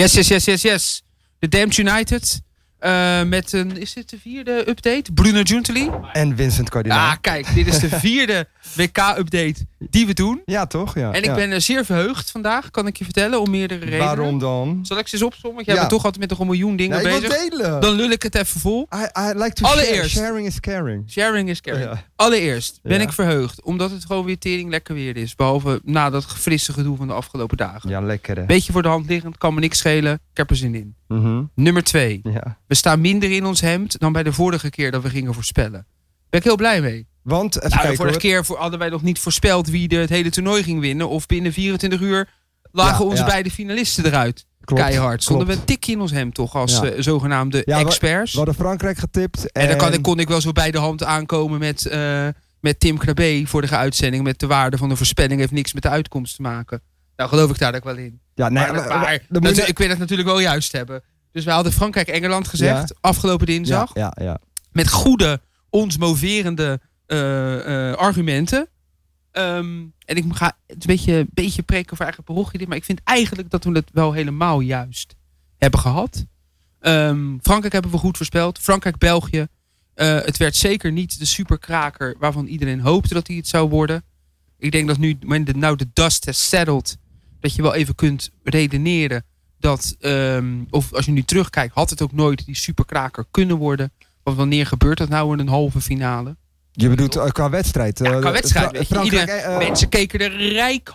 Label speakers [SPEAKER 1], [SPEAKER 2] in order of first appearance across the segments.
[SPEAKER 1] Yes, yes, yes, yes, yes. De Damned United. eh, met een, is dit de vierde update? Bruno Giuntoli.
[SPEAKER 2] En Vincent Cardinaal.
[SPEAKER 1] Ah, kijk, dit is de vierde WK-update die we doen.
[SPEAKER 2] ja, toch? Ja.
[SPEAKER 1] En ik
[SPEAKER 2] ja.
[SPEAKER 1] ben eh, zeer verheugd vandaag, kan ik je vertellen, om meerdere redenen.
[SPEAKER 2] Waarom dan?
[SPEAKER 1] Zal ik ze eens opzommen? Want jij
[SPEAKER 2] Ja.
[SPEAKER 1] bent toch altijd met nog een miljoen dingen
[SPEAKER 2] Nee, ik wil
[SPEAKER 1] bezig.
[SPEAKER 2] delen.
[SPEAKER 1] Dan lul ik het even vol.
[SPEAKER 2] I, I like to share.
[SPEAKER 1] Allereerst.
[SPEAKER 2] Sharing is caring.
[SPEAKER 1] Sharing is caring.
[SPEAKER 2] Ja.
[SPEAKER 1] Allereerst ben
[SPEAKER 2] Ja.
[SPEAKER 1] ik verheugd, omdat het gewoon weer tering lekker weer is. Behalve na dat frisse gedoe van de afgelopen dagen.
[SPEAKER 2] Ja, lekker hè.
[SPEAKER 1] Beetje voor de hand liggend, kan me niks schelen. Ik heb er zin in.
[SPEAKER 2] Mhm.
[SPEAKER 1] Nummer twee.
[SPEAKER 2] ja.
[SPEAKER 1] We staan minder in ons hemd dan bij de vorige keer dat we gingen voorspellen. Ben ik heel blij mee.
[SPEAKER 2] Want, even
[SPEAKER 1] Nou, de
[SPEAKER 2] kijken
[SPEAKER 1] vorige
[SPEAKER 2] hoor.
[SPEAKER 1] keer voor, hadden wij nog niet voorspeld wie de, het hele toernooi ging winnen. Of binnen 24 uur lagen
[SPEAKER 2] Ja,
[SPEAKER 1] onze
[SPEAKER 2] ja.
[SPEAKER 1] beide finalisten eruit.
[SPEAKER 2] Klopt,
[SPEAKER 1] Keihard. Stonden
[SPEAKER 2] klopt.
[SPEAKER 1] we een tikje in ons hemd toch als
[SPEAKER 2] Ja.
[SPEAKER 1] eh, zogenaamde
[SPEAKER 2] Ja, wa-
[SPEAKER 1] experts.
[SPEAKER 2] We hadden Frankrijk getipt. En,
[SPEAKER 1] en dan kan, ik- kon ik wel zo bij de hand aankomen met, eh, met Tim Krabbe vorige uitzending. Met de waarde van de voorspelling heeft niks met de uitkomst te maken. Nou geloof ik daar ook wel in.
[SPEAKER 2] Ja, nee,
[SPEAKER 1] maar,
[SPEAKER 2] maar-
[SPEAKER 1] maar
[SPEAKER 2] maar- dan
[SPEAKER 1] natu-
[SPEAKER 2] moet je-
[SPEAKER 1] ik wil het natuurlijk wel juist hebben. Dus wij hadden Frankrijk-Engeland gezegd afgelopen dinsdag
[SPEAKER 2] ja, ja, ja.
[SPEAKER 1] met goede, ons moverende eh, eh, argumenten. Ehm, en ik ga het is een beetje, een beetje preken voor eigen parochie dit, maar ik vind eigenlijk dat we het wel helemaal juist hebben gehad. Ehm, Frankrijk hebben we goed voorspeld. Frankrijk-België. Eh, het werd zeker niet de superkraker waarvan iedereen hoopte dat hij het zou worden. Ik denk dat nu, when the, nou de dust has settled, dat je wel even kunt redeneren dat, ehm, of als je nu terugkijkt, had het ook nooit die superkraker kunnen worden. Want wanneer gebeurt dat nou in een halve finale?
[SPEAKER 2] Je bedoelt eh, qua wedstrijd.
[SPEAKER 1] Ja,
[SPEAKER 2] eh,
[SPEAKER 1] qua wedstrijd,
[SPEAKER 2] Fra-
[SPEAKER 1] weet je,
[SPEAKER 2] Frankrijk, eh,
[SPEAKER 1] Mensen keken er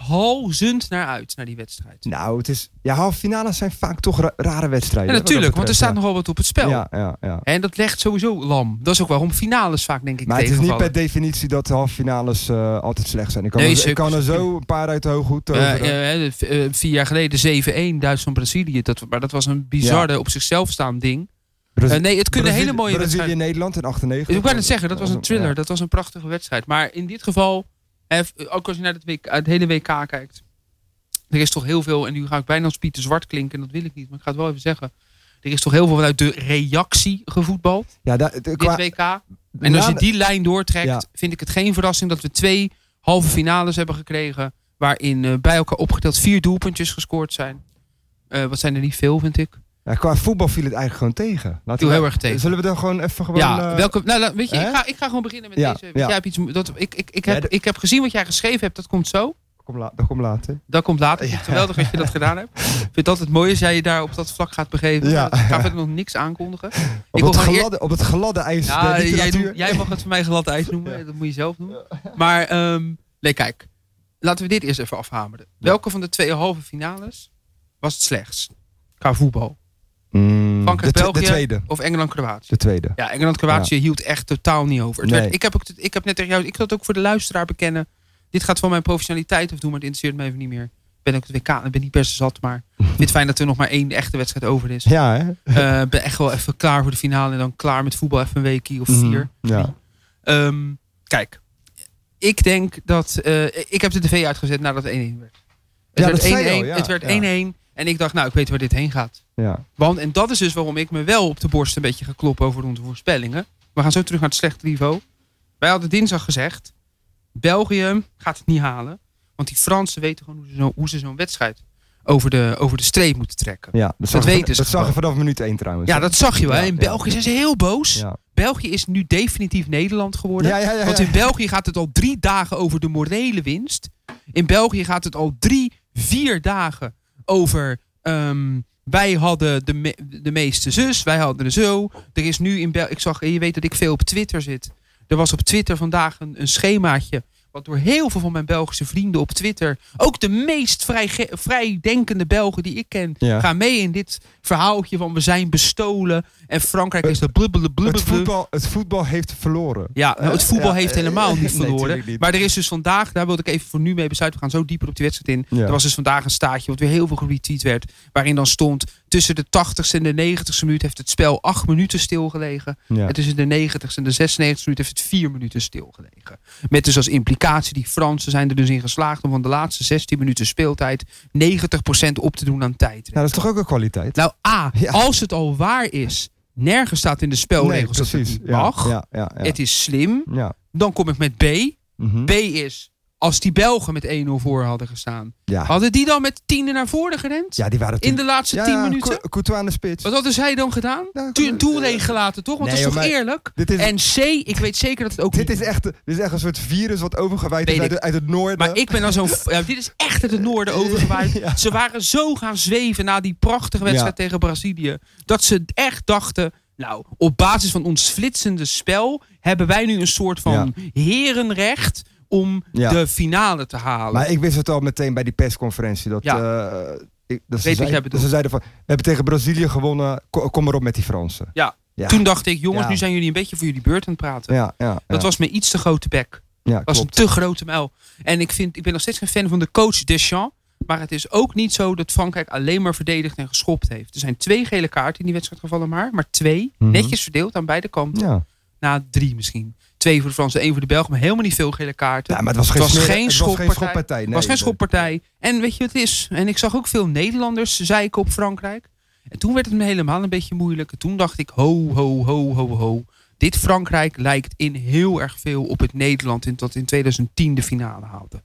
[SPEAKER 1] rijkhalzend naar uit, naar die wedstrijd.
[SPEAKER 2] Nou, het is, ja, halve finales zijn vaak toch ra- rare wedstrijden.
[SPEAKER 1] Ja,
[SPEAKER 2] hè, wat dat
[SPEAKER 1] natuurlijk, want er staat
[SPEAKER 2] betreft,
[SPEAKER 1] nogal wat op het spel.
[SPEAKER 2] ja. Ja, ja, ja.
[SPEAKER 1] En dat legt sowieso lam. Dat is ook waarom finales vaak, denk ik,
[SPEAKER 2] Maar het is niet
[SPEAKER 1] tegenvallen.
[SPEAKER 2] per definitie dat de halve finales eh, altijd slecht zijn. Ik kan,
[SPEAKER 1] Nee,
[SPEAKER 2] er, ik
[SPEAKER 1] zeker.
[SPEAKER 2] kan er zo een paar uit de hooghoed
[SPEAKER 1] Eh,
[SPEAKER 2] toveren.
[SPEAKER 1] eh, eh, v- eh, vier jaar geleden 7-1 Duitsland-Brazilië. Dat, maar dat was een bizarre, op zichzelf staand ding.
[SPEAKER 2] Brazi-
[SPEAKER 1] Eh, nee, het kunnen
[SPEAKER 2] Brazi-
[SPEAKER 1] hele mooie wedstrijden.
[SPEAKER 2] Brazilië-Nederland in 98.
[SPEAKER 1] Ik wou net zeggen, dat was een thriller.
[SPEAKER 2] Ja.
[SPEAKER 1] Dat was een prachtige wedstrijd. Maar in dit geval, eh, f- ook als je naar het, WK, het hele WK kijkt. Er is toch heel veel, en nu ga ik bijna als Pieter Zwart klinken. En dat wil ik niet, maar ik ga het wel even zeggen. Er is toch heel veel vanuit de reactie gevoetbald.
[SPEAKER 2] Ja, da- de- qua-
[SPEAKER 1] dit WK. En als je
[SPEAKER 2] na-
[SPEAKER 1] die lijn doortrekt,
[SPEAKER 2] Ja.
[SPEAKER 1] vind ik het geen verrassing dat we twee halve finales hebben gekregen. Waarin eh, bij elkaar opgeteld vier doelpuntjes gescoord zijn. Eh, wat zijn er niet veel, vind ik.
[SPEAKER 2] ja, qua voetbal viel het eigenlijk gewoon tegen. Laten
[SPEAKER 1] Viel
[SPEAKER 2] we-
[SPEAKER 1] heel erg tegen.
[SPEAKER 2] Zullen we dan gewoon even gewoon...
[SPEAKER 1] ja,
[SPEAKER 2] eh,
[SPEAKER 1] welke, nou, la- weet je,
[SPEAKER 2] hè?
[SPEAKER 1] ik ga, ik ga gewoon beginnen met
[SPEAKER 2] Ja,
[SPEAKER 1] deze. want
[SPEAKER 2] ja.
[SPEAKER 1] Jij hebt iets, dat, ik, ik, ik,
[SPEAKER 2] Ja,
[SPEAKER 1] heb,
[SPEAKER 2] de-
[SPEAKER 1] ik heb gezien wat jij geschreven hebt, dat komt zo.
[SPEAKER 2] Kom, la- dat komt later.
[SPEAKER 1] Dat komt later. Ik vind het geweldig dat je dat gedaan hebt. Ik vind het altijd mooi als jij je daar op dat vlak gaat begeven.
[SPEAKER 2] Ja.
[SPEAKER 1] Ik ga verder nog niks aankondigen.
[SPEAKER 2] Op
[SPEAKER 1] wil
[SPEAKER 2] het,
[SPEAKER 1] gewoon eer-
[SPEAKER 2] gladde, op het gladde ijs
[SPEAKER 1] Ja,
[SPEAKER 2] der
[SPEAKER 1] jij,
[SPEAKER 2] literatuur.
[SPEAKER 1] noemt- jij mag het voor mij glad ijs noemen. Dat moet je zelf doen. Maar ehm, nee, kijk. Laten we dit eerst even afhameren. Welke van de twee halve finales was het slechts? Qua voetbal.
[SPEAKER 2] Mm, de,
[SPEAKER 1] Frankrijk,
[SPEAKER 2] twe- de
[SPEAKER 1] België.
[SPEAKER 2] tweede.
[SPEAKER 1] Of Engeland-Kroatië?
[SPEAKER 2] De tweede.
[SPEAKER 1] Ja, Engeland-Kroatië hield echt totaal niet over. Het
[SPEAKER 2] Nee.
[SPEAKER 1] werd- ik, heb ook, t- ik heb net tegen jou... Ik zal het ook voor de luisteraar bekennen. Dit gaat van mijn professionaliteit of doen, maar het interesseert me even niet meer. Ik ben ook het WK en ik ben niet best zat, maar ik vind het fijn dat er nog maar één echte wedstrijd over is.
[SPEAKER 2] Ja, hè?
[SPEAKER 1] Eh, Ik ben echt wel even klaar voor de finale en dan klaar met voetbal even een weekie of vier.
[SPEAKER 2] Mhm, Ja.
[SPEAKER 1] Ehm, kijk, ik denk dat. eh, ik heb de tv uitgezet nadat het 1-1 werd. Het
[SPEAKER 2] Ja,
[SPEAKER 1] werd
[SPEAKER 2] dat zei je al,
[SPEAKER 1] 1-1,
[SPEAKER 2] ja,
[SPEAKER 1] het werd
[SPEAKER 2] ja.
[SPEAKER 1] 1-1. En ik dacht, nou, ik weet waar dit heen gaat.
[SPEAKER 2] ja.
[SPEAKER 1] Want, en dat is dus waarom ik me wel op de borst een beetje ga kloppen over onze voorspellingen. We gaan zo terug naar het slechte niveau. Wij hadden dinsdag gezegd: België gaat het niet halen. Want die Fransen weten gewoon hoe ze, zo, hoe ze zo'n wedstrijd over de, over de streep moeten trekken.
[SPEAKER 2] ja. Dat, zag je-
[SPEAKER 1] weten ze
[SPEAKER 2] Dat zag
[SPEAKER 1] gewoon.
[SPEAKER 2] je vanaf minuut 1 trouwens.
[SPEAKER 1] Ja, dat zag je wel.
[SPEAKER 2] Ja,
[SPEAKER 1] hè. in
[SPEAKER 2] ja.
[SPEAKER 1] België zijn ze heel boos.
[SPEAKER 2] Ja.
[SPEAKER 1] België is nu definitief Nederland geworden.
[SPEAKER 2] Ja, ja, ja, ja.
[SPEAKER 1] Want in België gaat het al drie dagen over de morele winst. In België gaat het al drie, vier dagen over. ehm, wij hadden de, me- de meeste zus, wij hadden er zo. Er is nu in België. Ik zag, je weet dat ik veel op Twitter zit. Er was op Twitter vandaag een, een schemaatje. Wat door heel veel van mijn Belgische vrienden op Twitter. Ook de meest vrijge- vrijdenkende Belgen die ik ken.
[SPEAKER 2] Ja.
[SPEAKER 1] Gaan mee in dit verhaaltje van we zijn bestolen. En Frankrijk is dat blubbelen
[SPEAKER 2] Het,
[SPEAKER 1] blubbelen.
[SPEAKER 2] voetbal, het voetbal heeft verloren.
[SPEAKER 1] Ja, nou, het voetbal
[SPEAKER 2] Ja,
[SPEAKER 1] heeft
[SPEAKER 2] eh,
[SPEAKER 1] helemaal niet
[SPEAKER 2] eh, nee,
[SPEAKER 1] verloren.
[SPEAKER 2] tuurlijk niet.
[SPEAKER 1] Maar er is dus vandaag, daar wilde ik even voor nu mee besluiten. We gaan zo dieper op die wedstrijd in.
[SPEAKER 2] Ja.
[SPEAKER 1] Er was dus vandaag een staatje wat weer heel veel geretweet werd. Waarin dan stond tussen de 80ste en de 90ste minuut heeft het spel acht minuten stilgelegen.
[SPEAKER 2] Ja.
[SPEAKER 1] En tussen de 90ste en de 96ste minuut heeft het vier minuten stilgelegen. Met dus als implicatie die Fransen zijn er dus in geslaagd om van de laatste 16 minuten speeltijd 90% op te doen aan tijd.
[SPEAKER 2] Nou, dat is toch ook een kwaliteit?
[SPEAKER 1] Nou A,
[SPEAKER 2] Ja.
[SPEAKER 1] als het al waar is, nergens staat in de spelregels dat het niet
[SPEAKER 2] Ja,
[SPEAKER 1] mag.
[SPEAKER 2] Ja, ja, ja.
[SPEAKER 1] Het is slim.
[SPEAKER 2] ja.
[SPEAKER 1] Dan kom ik met B.
[SPEAKER 2] Mhm.
[SPEAKER 1] B is, Als die Belgen met 1-0 voor hadden gestaan.
[SPEAKER 2] Ja.
[SPEAKER 1] Hadden die dan met tiende naar voren gerend?
[SPEAKER 2] Ah. ja, die
[SPEAKER 1] in
[SPEAKER 2] waren toen...
[SPEAKER 1] de laatste 10
[SPEAKER 2] ja,
[SPEAKER 1] minuten?
[SPEAKER 2] Cou- Courtois aan de spits.
[SPEAKER 1] Wat hadden zij dan gedaan?
[SPEAKER 2] Nou,
[SPEAKER 1] Tu-
[SPEAKER 2] eh,
[SPEAKER 1] Een doelregen gelaten, toch? Want
[SPEAKER 2] nee,
[SPEAKER 1] dat is
[SPEAKER 2] joh,
[SPEAKER 1] toch
[SPEAKER 2] maar-
[SPEAKER 1] eerlijk?
[SPEAKER 2] Dit is,
[SPEAKER 1] En C, ik weet zeker dat het ook
[SPEAKER 2] dit,
[SPEAKER 1] niet-
[SPEAKER 2] is echt, dit is echt een soort virus wat overgewaaid
[SPEAKER 1] Weet
[SPEAKER 2] is
[SPEAKER 1] ik.
[SPEAKER 2] uit, het- uit het noorden.
[SPEAKER 1] Maar ik ben dan zo'n... Ja, dit is echt uit het noorden overgewaaid.
[SPEAKER 2] Ja.
[SPEAKER 1] Ze waren zo gaan zweven na die prachtige wedstrijd tegen Brazilië. Dat ze echt dachten... Nou, op basis van ons flitsende spel... hebben wij nu een soort van herenrecht... om
[SPEAKER 2] Ja.
[SPEAKER 1] de finale te halen.
[SPEAKER 2] Maar ik wist het al meteen bij die persconferentie. Dat,
[SPEAKER 1] Ja.
[SPEAKER 2] eh, ik, dat, ze,
[SPEAKER 1] Weet wat jij
[SPEAKER 2] zeiden,
[SPEAKER 1] bedoelt.
[SPEAKER 2] dat ze zeiden van, we hebben tegen Brazilië gewonnen, ko- kom maar op met die Fransen.
[SPEAKER 1] Ja.
[SPEAKER 2] ja.
[SPEAKER 1] Toen dacht ik, jongens,
[SPEAKER 2] Ja.
[SPEAKER 1] nu zijn jullie een beetje voor jullie beurt aan het praten.
[SPEAKER 2] ja, ja,
[SPEAKER 1] Dat
[SPEAKER 2] ja,
[SPEAKER 1] was mijn iets te grote bek.
[SPEAKER 2] ja,
[SPEAKER 1] was
[SPEAKER 2] klopt.
[SPEAKER 1] een te grote muil. En ik, vind, ik ben nog steeds geen fan van de coach Deschamps. Maar het is ook niet zo dat Frankrijk alleen maar verdedigd en geschopt heeft. Er zijn twee gele kaarten in die wedstrijd gevallen maar. Maar twee,
[SPEAKER 2] Mhm.
[SPEAKER 1] netjes verdeeld aan beide kanten.
[SPEAKER 2] Ja.
[SPEAKER 1] Na drie misschien. Twee voor de Fransen, één voor de Belgen. Maar helemaal niet veel gele kaarten.
[SPEAKER 2] ja, maar het was geen,
[SPEAKER 1] was
[SPEAKER 2] smeer-
[SPEAKER 1] geen
[SPEAKER 2] het was geen
[SPEAKER 1] schoppartij.
[SPEAKER 2] schoppartij.
[SPEAKER 1] Het
[SPEAKER 2] Nee,
[SPEAKER 1] was geen
[SPEAKER 2] nee.
[SPEAKER 1] schoppartij. En weet je wat het is? En ik zag ook veel Nederlanders zeiken op Frankrijk. En toen werd het me helemaal een beetje moeilijk. En toen dacht ik, ho, ho, ho, ho, ho. Dit Frankrijk lijkt in heel erg veel op het Nederland in, dat in 2010 de finale haalde.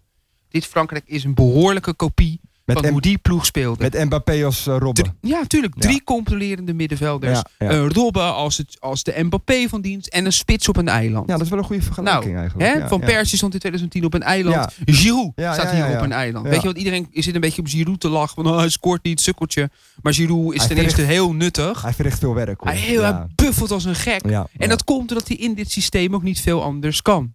[SPEAKER 1] Dit Frankrijk is een behoorlijke kopie
[SPEAKER 2] Met,
[SPEAKER 1] van
[SPEAKER 2] M-
[SPEAKER 1] hoe die ploeg speelde.
[SPEAKER 2] met Mbappé als eh, Robben.
[SPEAKER 1] Drie- ja, tuurlijk.
[SPEAKER 2] Ja.
[SPEAKER 1] Drie controlerende middenvelders.
[SPEAKER 2] Ja, ja.
[SPEAKER 1] Eh, Robben als, het, als de Mbappé van dienst. En een spits op een eiland.
[SPEAKER 2] ja, dat is wel een goede vergelijking eigenlijk.
[SPEAKER 1] Nou, Hè?
[SPEAKER 2] ja,
[SPEAKER 1] van
[SPEAKER 2] ja.
[SPEAKER 1] Persie stond in 2010 op een eiland.
[SPEAKER 2] Ja.
[SPEAKER 1] Giroud
[SPEAKER 2] Ja,
[SPEAKER 1] staat
[SPEAKER 2] ja,
[SPEAKER 1] hier
[SPEAKER 2] ja, ja.
[SPEAKER 1] op een eiland.
[SPEAKER 2] Ja.
[SPEAKER 1] Weet je, want iedereen zit een beetje op Giroud te lachen. Van, oh, hij scoort niet, sukkeltje. Maar Giroud is
[SPEAKER 2] Hij
[SPEAKER 1] ten eerste heel nuttig.
[SPEAKER 2] Hij verricht veel werk. hoor.
[SPEAKER 1] Hij, Ah, heel, hij
[SPEAKER 2] ja.
[SPEAKER 1] buffelt als een gek.
[SPEAKER 2] Ja,
[SPEAKER 1] En dat komt omdat hij in dit systeem ook niet veel anders kan.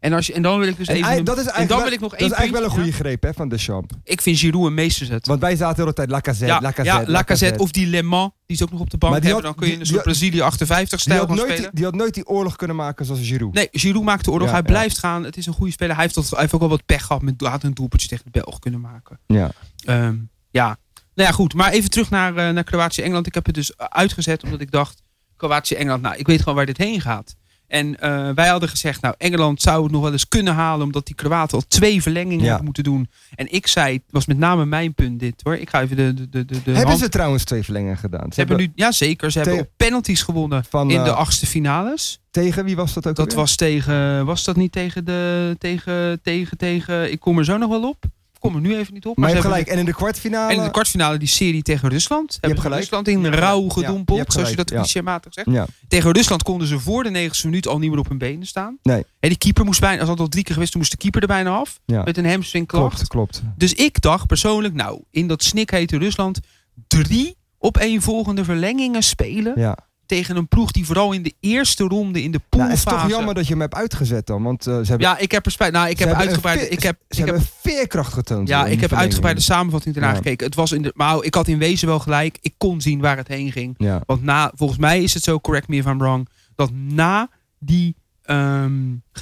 [SPEAKER 1] En, als je, en dan wil ik dus
[SPEAKER 2] En
[SPEAKER 1] even...
[SPEAKER 2] hij-
[SPEAKER 1] een-
[SPEAKER 2] dat is
[SPEAKER 1] en
[SPEAKER 2] eigenlijk,
[SPEAKER 1] dan
[SPEAKER 2] wel,
[SPEAKER 1] wil ik nog
[SPEAKER 2] dat
[SPEAKER 1] één
[SPEAKER 2] is eigenlijk wel een
[SPEAKER 1] puntje-
[SPEAKER 2] goede greep hè, van Deschamps.
[SPEAKER 1] Ja, ik vind Giroud een meesterzet.
[SPEAKER 2] Want wij zaten de hele tijd Lacazette,
[SPEAKER 1] ja,
[SPEAKER 2] Lacazette,
[SPEAKER 1] ja,
[SPEAKER 2] Lacazette.
[SPEAKER 1] Lacazette of die Le Mans, die is ook nog op de bank
[SPEAKER 2] Maar die
[SPEAKER 1] hebben.
[SPEAKER 2] had-
[SPEAKER 1] dan kun je
[SPEAKER 2] die-
[SPEAKER 1] een soort
[SPEAKER 2] die-
[SPEAKER 1] Brazilië 58
[SPEAKER 2] Die
[SPEAKER 1] stijl
[SPEAKER 2] had,
[SPEAKER 1] gaan
[SPEAKER 2] nooit
[SPEAKER 1] spelen.
[SPEAKER 2] die, die had nooit die oorlog kunnen maken zoals Giroud.
[SPEAKER 1] Nee, Giroud maakt de oorlog.
[SPEAKER 2] Ja,
[SPEAKER 1] hij
[SPEAKER 2] ja.
[SPEAKER 1] blijft gaan. Het is een goede speler. Hij heeft, tot, hij heeft ook wel wat pech gehad. Met, hij had een doelpuntje tegen de Belg kunnen maken.
[SPEAKER 2] Ja.
[SPEAKER 1] Ehm, ja. Nou ja, goed. Maar even terug naar, eh, naar Kroatië-Engeland. Ik heb het dus eh, uitgezet omdat ik dacht... Kroatië-Engeland, nou, ik weet gewoon waar dit heen gaat. En eh, wij hadden gezegd, nou, Engeland zou het nog wel eens kunnen halen... omdat die Kroaten al twee verlengingen
[SPEAKER 2] Ja.
[SPEAKER 1] hebben moeten doen. En ik zei, het was met name mijn punt dit, hoor. Ik ga even de... de, de, de, de
[SPEAKER 2] Hebben
[SPEAKER 1] hand-
[SPEAKER 2] ze trouwens twee verlengingen gedaan? Ze
[SPEAKER 1] ze hebben nu, ja, zeker. Ze hebben
[SPEAKER 2] Tegen-
[SPEAKER 1] op penalties gewonnen
[SPEAKER 2] van,
[SPEAKER 1] in de
[SPEAKER 2] eh,
[SPEAKER 1] achtste finales.
[SPEAKER 2] Tegen wie was dat ook
[SPEAKER 1] Dat
[SPEAKER 2] alweer?
[SPEAKER 1] was tegen, was dat niet tegen de, tegen, tegen, tegen, ik kom er zo nog wel op. Ik kom er nu even niet op.
[SPEAKER 2] Maar
[SPEAKER 1] ze
[SPEAKER 2] je hebt
[SPEAKER 1] hebben
[SPEAKER 2] gelijk. En in de kwartfinale...
[SPEAKER 1] de- en in de kwartfinale die serie tegen Rusland. Hebben ze
[SPEAKER 2] gelijk.
[SPEAKER 1] Rusland in
[SPEAKER 2] Je hebt
[SPEAKER 1] rauw
[SPEAKER 2] gelijk. Ja,
[SPEAKER 1] gedompeld,
[SPEAKER 2] je hebt
[SPEAKER 1] zoals je
[SPEAKER 2] gelijk,
[SPEAKER 1] dat
[SPEAKER 2] ja.
[SPEAKER 1] clichématig zegt.
[SPEAKER 2] ja.
[SPEAKER 1] Tegen Rusland konden ze voor de 90ste minuut al niet meer op hun benen staan.
[SPEAKER 2] Nee.
[SPEAKER 1] En die keeper moest bijna, als dat al drie keer geweest, toen moest de keeper er bijna af.
[SPEAKER 2] Ja.
[SPEAKER 1] Met een hamstringklacht.
[SPEAKER 2] Klopt, klopt.
[SPEAKER 1] Dus ik dacht persoonlijk, nou, in dat snikhete Rusland drie op één volgende verlengingen spelen.
[SPEAKER 2] Ja.
[SPEAKER 1] Tegen een ploeg die vooral in de eerste ronde in de
[SPEAKER 2] Nou, het is
[SPEAKER 1] poolfase...
[SPEAKER 2] toch jammer dat je hem hebt uitgezet dan. Want eh, ze hebben,
[SPEAKER 1] Ja, ik heb er spijt. Nou, ik
[SPEAKER 2] Ze
[SPEAKER 1] heb
[SPEAKER 2] hebben een
[SPEAKER 1] uitgebreid.
[SPEAKER 2] fi-
[SPEAKER 1] Ik heb,
[SPEAKER 2] ze
[SPEAKER 1] ik heb,
[SPEAKER 2] hebben veerkracht getoond.
[SPEAKER 1] ja,
[SPEAKER 2] hoor, in
[SPEAKER 1] ik heb
[SPEAKER 2] de
[SPEAKER 1] uitgebreid de
[SPEAKER 2] verlenging.
[SPEAKER 1] samenvatting ernaar
[SPEAKER 2] Ja.
[SPEAKER 1] gekeken. Het was in de, maar ik had in wezen wel gelijk. Ik kon zien waar het heen ging.
[SPEAKER 2] Ja.
[SPEAKER 1] Want na, volgens mij is het zo, correct me if I'm wrong, dat na die ehm,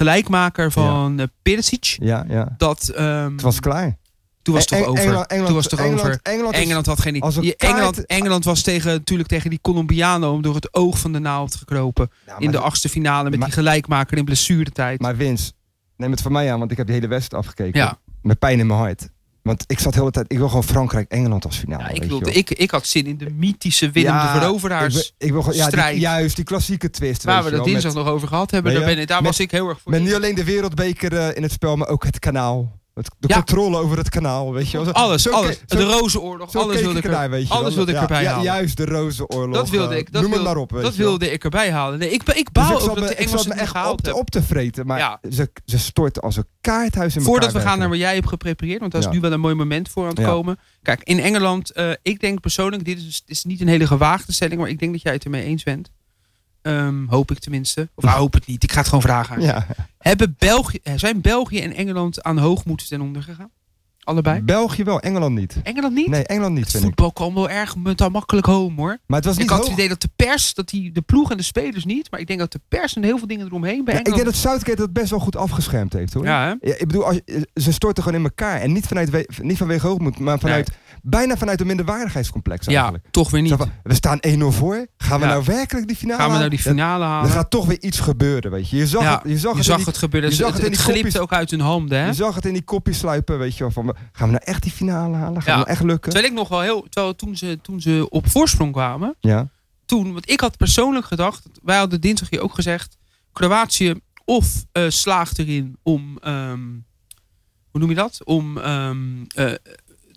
[SPEAKER 1] gelijkmaker van eh, Perisic,
[SPEAKER 2] Ja, ja.
[SPEAKER 1] dat ehm,
[SPEAKER 2] Het was klaar.
[SPEAKER 1] toen was het
[SPEAKER 2] Eng-
[SPEAKER 1] toch over.
[SPEAKER 2] E- Engeland, Engeland,
[SPEAKER 1] toen was het toch
[SPEAKER 2] Engeland,
[SPEAKER 1] over.
[SPEAKER 2] Engeland, is-
[SPEAKER 1] Engeland had geen
[SPEAKER 2] als een
[SPEAKER 1] je-
[SPEAKER 2] kaart-
[SPEAKER 1] Engeland, Engeland was tegen, natuurlijk tegen die Colombianen door het oog van de naald gekropen.
[SPEAKER 2] Ja, maar-
[SPEAKER 1] in de achtste finale met
[SPEAKER 2] maar-
[SPEAKER 1] die gelijkmaker in blessuretijd.
[SPEAKER 2] Maar Wins, neem het van mij aan, want ik heb de hele wedstrijd afgekeken.
[SPEAKER 1] Ja.
[SPEAKER 2] Met pijn in mijn hart. Want ik zat de hele tijd, ik wil gewoon Frankrijk-Engeland als finale.
[SPEAKER 1] Ja,
[SPEAKER 2] weet
[SPEAKER 1] ik,
[SPEAKER 2] je
[SPEAKER 1] wilde,
[SPEAKER 2] wel.
[SPEAKER 1] ik, ik had zin in de mythische Willem
[SPEAKER 2] Ja,
[SPEAKER 1] de
[SPEAKER 2] Ik
[SPEAKER 1] Veroveraars.
[SPEAKER 2] wil- ik wil gewoon- ja, die-
[SPEAKER 1] strijd.
[SPEAKER 2] juist, die klassieke twist.
[SPEAKER 1] waar
[SPEAKER 2] weet
[SPEAKER 1] we
[SPEAKER 2] je
[SPEAKER 1] dat
[SPEAKER 2] wel, met-
[SPEAKER 1] dinsdag nog over gehad hebben.
[SPEAKER 2] Nee,
[SPEAKER 1] daar
[SPEAKER 2] ja.
[SPEAKER 1] ben ik, daar
[SPEAKER 2] Met-
[SPEAKER 1] was ik heel erg voor.
[SPEAKER 2] Met niet alleen de wereldbeker eh, in het spel, maar ook het kanaal. Het, de
[SPEAKER 1] Ja.
[SPEAKER 2] controle over het kanaal, weet je wel. Zo-
[SPEAKER 1] alles,
[SPEAKER 2] zo
[SPEAKER 1] alles.
[SPEAKER 2] ke- zo-
[SPEAKER 1] de Rozenoorlog,
[SPEAKER 2] zo
[SPEAKER 1] alles
[SPEAKER 2] keek
[SPEAKER 1] wilde
[SPEAKER 2] ik
[SPEAKER 1] ik, er,
[SPEAKER 2] ernaar, weet je
[SPEAKER 1] alles
[SPEAKER 2] wel.
[SPEAKER 1] wilde ik
[SPEAKER 2] Ja,
[SPEAKER 1] erbij
[SPEAKER 2] ja,
[SPEAKER 1] halen.
[SPEAKER 2] Juist, de rozenoorlog.
[SPEAKER 1] dat wilde
[SPEAKER 2] eh,
[SPEAKER 1] ik. Dat
[SPEAKER 2] noem
[SPEAKER 1] wilde,
[SPEAKER 2] het maar op, weet
[SPEAKER 1] dat
[SPEAKER 2] je wel.
[SPEAKER 1] wilde ik erbij halen. Nee, ik, ba- ik
[SPEAKER 2] Dus
[SPEAKER 1] baal
[SPEAKER 2] ik zat
[SPEAKER 1] ook dat
[SPEAKER 2] me-
[SPEAKER 1] de
[SPEAKER 2] ik zat
[SPEAKER 1] Engelsen
[SPEAKER 2] me
[SPEAKER 1] het niet
[SPEAKER 2] echt op
[SPEAKER 1] gehaald
[SPEAKER 2] te,
[SPEAKER 1] hebben.
[SPEAKER 2] op te vreten. Maar
[SPEAKER 1] Ja.
[SPEAKER 2] ze, ze storten als een kaarthuis in
[SPEAKER 1] Voordat we
[SPEAKER 2] elkaar
[SPEAKER 1] gaan naar
[SPEAKER 2] werken.
[SPEAKER 1] wat jij hebt geprepareerd, want daar is
[SPEAKER 2] Ja.
[SPEAKER 1] nu wel een mooi moment voor aan het
[SPEAKER 2] Ja.
[SPEAKER 1] komen. Kijk, in Engeland, eh, ik denk persoonlijk, dit is, is niet een hele gewaagde stelling, maar ik denk dat jij het ermee eens bent. Ehm, hoop ik tenminste. Of nou, hoop het niet, ik ga het gewoon vragen. aan je.
[SPEAKER 2] Ja.
[SPEAKER 1] Hebben België, eh, zijn België en Engeland aan hoogmoed ten onder gegaan? Allebei?
[SPEAKER 2] België wel, Engeland niet.
[SPEAKER 1] Engeland niet?
[SPEAKER 2] Mm. Nee, Engeland niet,
[SPEAKER 1] Het
[SPEAKER 2] vind ik.
[SPEAKER 1] voetbal kwam wel erg met al makkelijk home hoor.
[SPEAKER 2] Maar het was
[SPEAKER 1] Ik
[SPEAKER 2] niet
[SPEAKER 1] had het
[SPEAKER 2] hoog.
[SPEAKER 1] idee dat de pers, dat die, de ploeg en de spelers niet, maar ik denk dat de pers en heel veel dingen eromheen bij
[SPEAKER 2] Ja, ik denk
[SPEAKER 1] Engeland.
[SPEAKER 2] dat Southgate dat best wel goed afgeschermd heeft, hoor.
[SPEAKER 1] ja, hè?
[SPEAKER 2] Ja, ik bedoel, als, je- ze storten gewoon in elkaar. En niet, vanuit we- niet vanwege hoogmoed, maar vanuit, bijna vanuit een minderwaardigheidscomplex
[SPEAKER 1] ja,
[SPEAKER 2] eigenlijk.
[SPEAKER 1] toch weer niet.
[SPEAKER 2] Zo van, we staan 1-0 voor. Gaan we
[SPEAKER 1] Ja.
[SPEAKER 2] nou werkelijk die finale
[SPEAKER 1] Gaan we nou
[SPEAKER 2] halen?
[SPEAKER 1] die finale
[SPEAKER 2] Er- Er
[SPEAKER 1] halen?
[SPEAKER 2] gaat toch weer iets gebeuren, weet je. Je zag
[SPEAKER 1] Ja,
[SPEAKER 2] het, je zag
[SPEAKER 1] Je
[SPEAKER 2] het, in
[SPEAKER 1] zag
[SPEAKER 2] die,
[SPEAKER 1] het gebeuren.
[SPEAKER 2] je
[SPEAKER 1] Het,
[SPEAKER 2] zag het
[SPEAKER 1] het,
[SPEAKER 2] in die
[SPEAKER 1] glipte
[SPEAKER 2] kopjes.
[SPEAKER 1] ook uit hun handen. Hè?
[SPEAKER 2] je zag het in die kopjes sluipen, weet je wel. Van, gaan we nou echt die finale halen? Gaan
[SPEAKER 1] Ja.
[SPEAKER 2] we nou echt lukken?
[SPEAKER 1] Terwijl ik nog wel heel. Terwijl toen ze, toen ze op voorsprong kwamen.
[SPEAKER 2] Ja.
[SPEAKER 1] Toen, want ik had persoonlijk gedacht. Wij hadden dinsdag hier ook gezegd. Kroatië of eh, slaagt erin om ehm, hoe noem je dat? Om ehm, eh,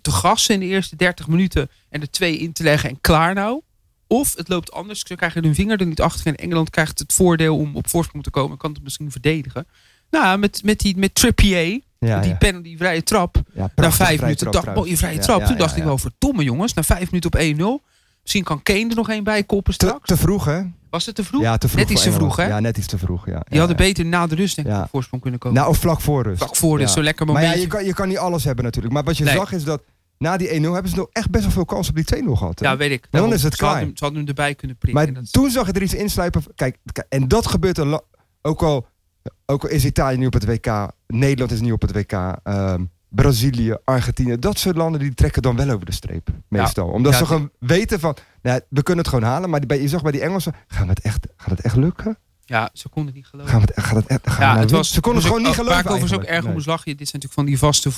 [SPEAKER 1] te grassen in de eerste 30 minuten en er twee in te leggen en klaar nou. Of het loopt anders, ze krijgen hun vinger er niet achter en Engeland krijgt het voordeel om op voorsprong te komen en kan het misschien verdedigen. Nou, met, met, die, met Trippier,
[SPEAKER 2] Ja,
[SPEAKER 1] die
[SPEAKER 2] ja.
[SPEAKER 1] penalty, die vrije trap,
[SPEAKER 2] Ja,
[SPEAKER 1] na
[SPEAKER 2] prachtig
[SPEAKER 1] vijf
[SPEAKER 2] vrije
[SPEAKER 1] minuten
[SPEAKER 2] trap
[SPEAKER 1] dacht
[SPEAKER 2] trouwens.
[SPEAKER 1] mooie vrije
[SPEAKER 2] Ja,
[SPEAKER 1] trap.
[SPEAKER 2] ja,
[SPEAKER 1] Toen
[SPEAKER 2] ja,
[SPEAKER 1] dacht ik
[SPEAKER 2] ja.
[SPEAKER 1] wel, verdomme jongens, na vijf minuten op 1-0. Misschien kan Kane er nog één bij koppen
[SPEAKER 2] Te,
[SPEAKER 1] straks.
[SPEAKER 2] te vroeg, hè?
[SPEAKER 1] Was het te vroeg?
[SPEAKER 2] Ja, te vroeg.
[SPEAKER 1] Net iets
[SPEAKER 2] voor
[SPEAKER 1] te vroeg,
[SPEAKER 2] Engeland.
[SPEAKER 1] hè?
[SPEAKER 2] Ja, net iets te vroeg, ja.
[SPEAKER 1] Die hadden beter na de rust denk ik
[SPEAKER 2] Ja.
[SPEAKER 1] op voorsprong kunnen komen.
[SPEAKER 2] Nou, of vlak voor rust.
[SPEAKER 1] Vlak voor dus,
[SPEAKER 2] Ja.
[SPEAKER 1] zo'n lekker
[SPEAKER 2] Maar
[SPEAKER 1] momentje.
[SPEAKER 2] ja, je kan, je kan niet alles hebben natuurlijk. Maar wat je
[SPEAKER 1] Nee.
[SPEAKER 2] zag is dat na die 1-0 hebben ze nog echt best wel veel kans op die 2-0 gehad. hè?
[SPEAKER 1] Ja, weet ik.
[SPEAKER 2] dan is het
[SPEAKER 1] ze
[SPEAKER 2] klaar.
[SPEAKER 1] Hadden, hem- ze hadden hem erbij kunnen prikken.
[SPEAKER 2] maar
[SPEAKER 1] En dat is-
[SPEAKER 2] toen zag je er iets insluipen. Kijk, k- en dat gebeurt een la- ook, al, ook al is Italië nu op het WK, Nederland is nu op het WK, ehm, Brazilië, Argentinië. Dat soort landen die trekken dan wel over de streep, meestal. Omdat
[SPEAKER 1] Ja,
[SPEAKER 2] ze
[SPEAKER 1] die-
[SPEAKER 2] gewoon weten van, nou, we kunnen het gewoon halen. Maar die- bij- je zag bij die Engelsen, gaan we het echt, gaat het echt lukken?
[SPEAKER 1] ja, ze konden het niet geloven.
[SPEAKER 2] Gaan we het, gaat het echt, gaan we nou
[SPEAKER 1] ja, het
[SPEAKER 2] winnen?
[SPEAKER 1] was,
[SPEAKER 2] ze konden
[SPEAKER 1] was
[SPEAKER 2] het gewoon
[SPEAKER 1] ook-
[SPEAKER 2] niet geloven
[SPEAKER 1] Waar ik overigens ook
[SPEAKER 2] eigenlijk.
[SPEAKER 1] erg om
[SPEAKER 2] Nee.
[SPEAKER 1] moest lachen. Dit zijn natuurlijk van die vaste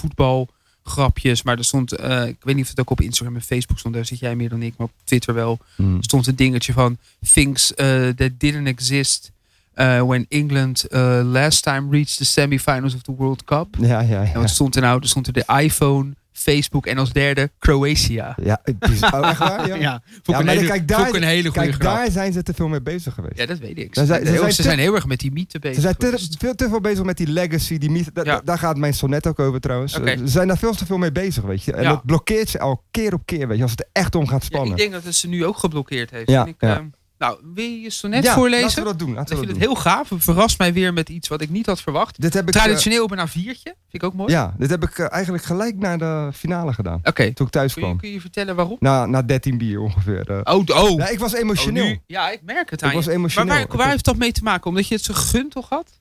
[SPEAKER 1] voetbalgrapjes. Maar er stond, eh, ik weet niet of het ook op Instagram en Facebook stond. Daar zit jij meer dan ik, maar op Twitter wel.
[SPEAKER 2] Mm.
[SPEAKER 1] stond een dingetje van things eh, that didn't exist eh, when England eh, last time reached the semifinals of the World Cup.
[SPEAKER 2] Mm. Ja, ja, ja.
[SPEAKER 1] En wat stond er nou? Er stond er de iPhone, Facebook en als derde Kroatië.
[SPEAKER 2] Ja, het is oh, echt waar? Ja.
[SPEAKER 1] vond ik
[SPEAKER 2] Ja,
[SPEAKER 1] een
[SPEAKER 2] maar
[SPEAKER 1] hele,
[SPEAKER 2] kijk, daar-
[SPEAKER 1] vond ik een hele goede
[SPEAKER 2] Kijk,
[SPEAKER 1] grap.
[SPEAKER 2] daar zijn ze te veel mee bezig geweest.
[SPEAKER 1] Ja, dat weet ik.
[SPEAKER 2] Daar zijn-
[SPEAKER 1] Ze,
[SPEAKER 2] ze
[SPEAKER 1] heel-
[SPEAKER 2] zijn
[SPEAKER 1] ze
[SPEAKER 2] te-
[SPEAKER 1] zijn heel erg met die mythe bezig. dus-
[SPEAKER 2] Ze zijn te,
[SPEAKER 1] geweest.
[SPEAKER 2] veel te veel bezig met die legacy, die mythe. Da-
[SPEAKER 1] Ja.
[SPEAKER 2] da- Daar gaat mijn sonnet ook over trouwens.
[SPEAKER 1] Oké.
[SPEAKER 2] Eh, Ze zijn daar veel te veel mee bezig, weet je. En
[SPEAKER 1] Ja.
[SPEAKER 2] dat blokkeert ze al keer op keer, weet je. Als het er echt om gaat
[SPEAKER 1] Ja, ik
[SPEAKER 2] spannen.
[SPEAKER 1] denk dat het ze nu ook geblokkeerd heeft.
[SPEAKER 2] Ja,
[SPEAKER 1] En ik,
[SPEAKER 2] ja.
[SPEAKER 1] ehm, nou, wil je je sonnet
[SPEAKER 2] Ja, Laten
[SPEAKER 1] voorlezen?
[SPEAKER 2] we dat doen. Laten
[SPEAKER 1] ik
[SPEAKER 2] we
[SPEAKER 1] vind het
[SPEAKER 2] dat doen.
[SPEAKER 1] heel gaaf. Het verrast mij weer met iets wat ik niet had verwacht.
[SPEAKER 2] Dit heb ik, eh,
[SPEAKER 1] Traditioneel bijna viertje. Vind ik ook mooi.
[SPEAKER 2] ja, dit heb ik eh, eigenlijk gelijk naar de finale gedaan.
[SPEAKER 1] Oké.
[SPEAKER 2] Toen ik thuis
[SPEAKER 1] Kun, je-
[SPEAKER 2] kwam.
[SPEAKER 1] kun je vertellen waarom?
[SPEAKER 2] Na, na 13 bier ongeveer. eh.
[SPEAKER 1] Oh, d- oh.
[SPEAKER 2] Ja, ik was
[SPEAKER 1] Oh,
[SPEAKER 2] emotioneel.
[SPEAKER 1] nu- ja, ik merk het aan
[SPEAKER 2] ik was
[SPEAKER 1] je.
[SPEAKER 2] emotioneel.
[SPEAKER 1] Maar waar,
[SPEAKER 2] Ik
[SPEAKER 1] waar
[SPEAKER 2] was-
[SPEAKER 1] heeft dat mee te maken? Omdat je het zo gunt toch had?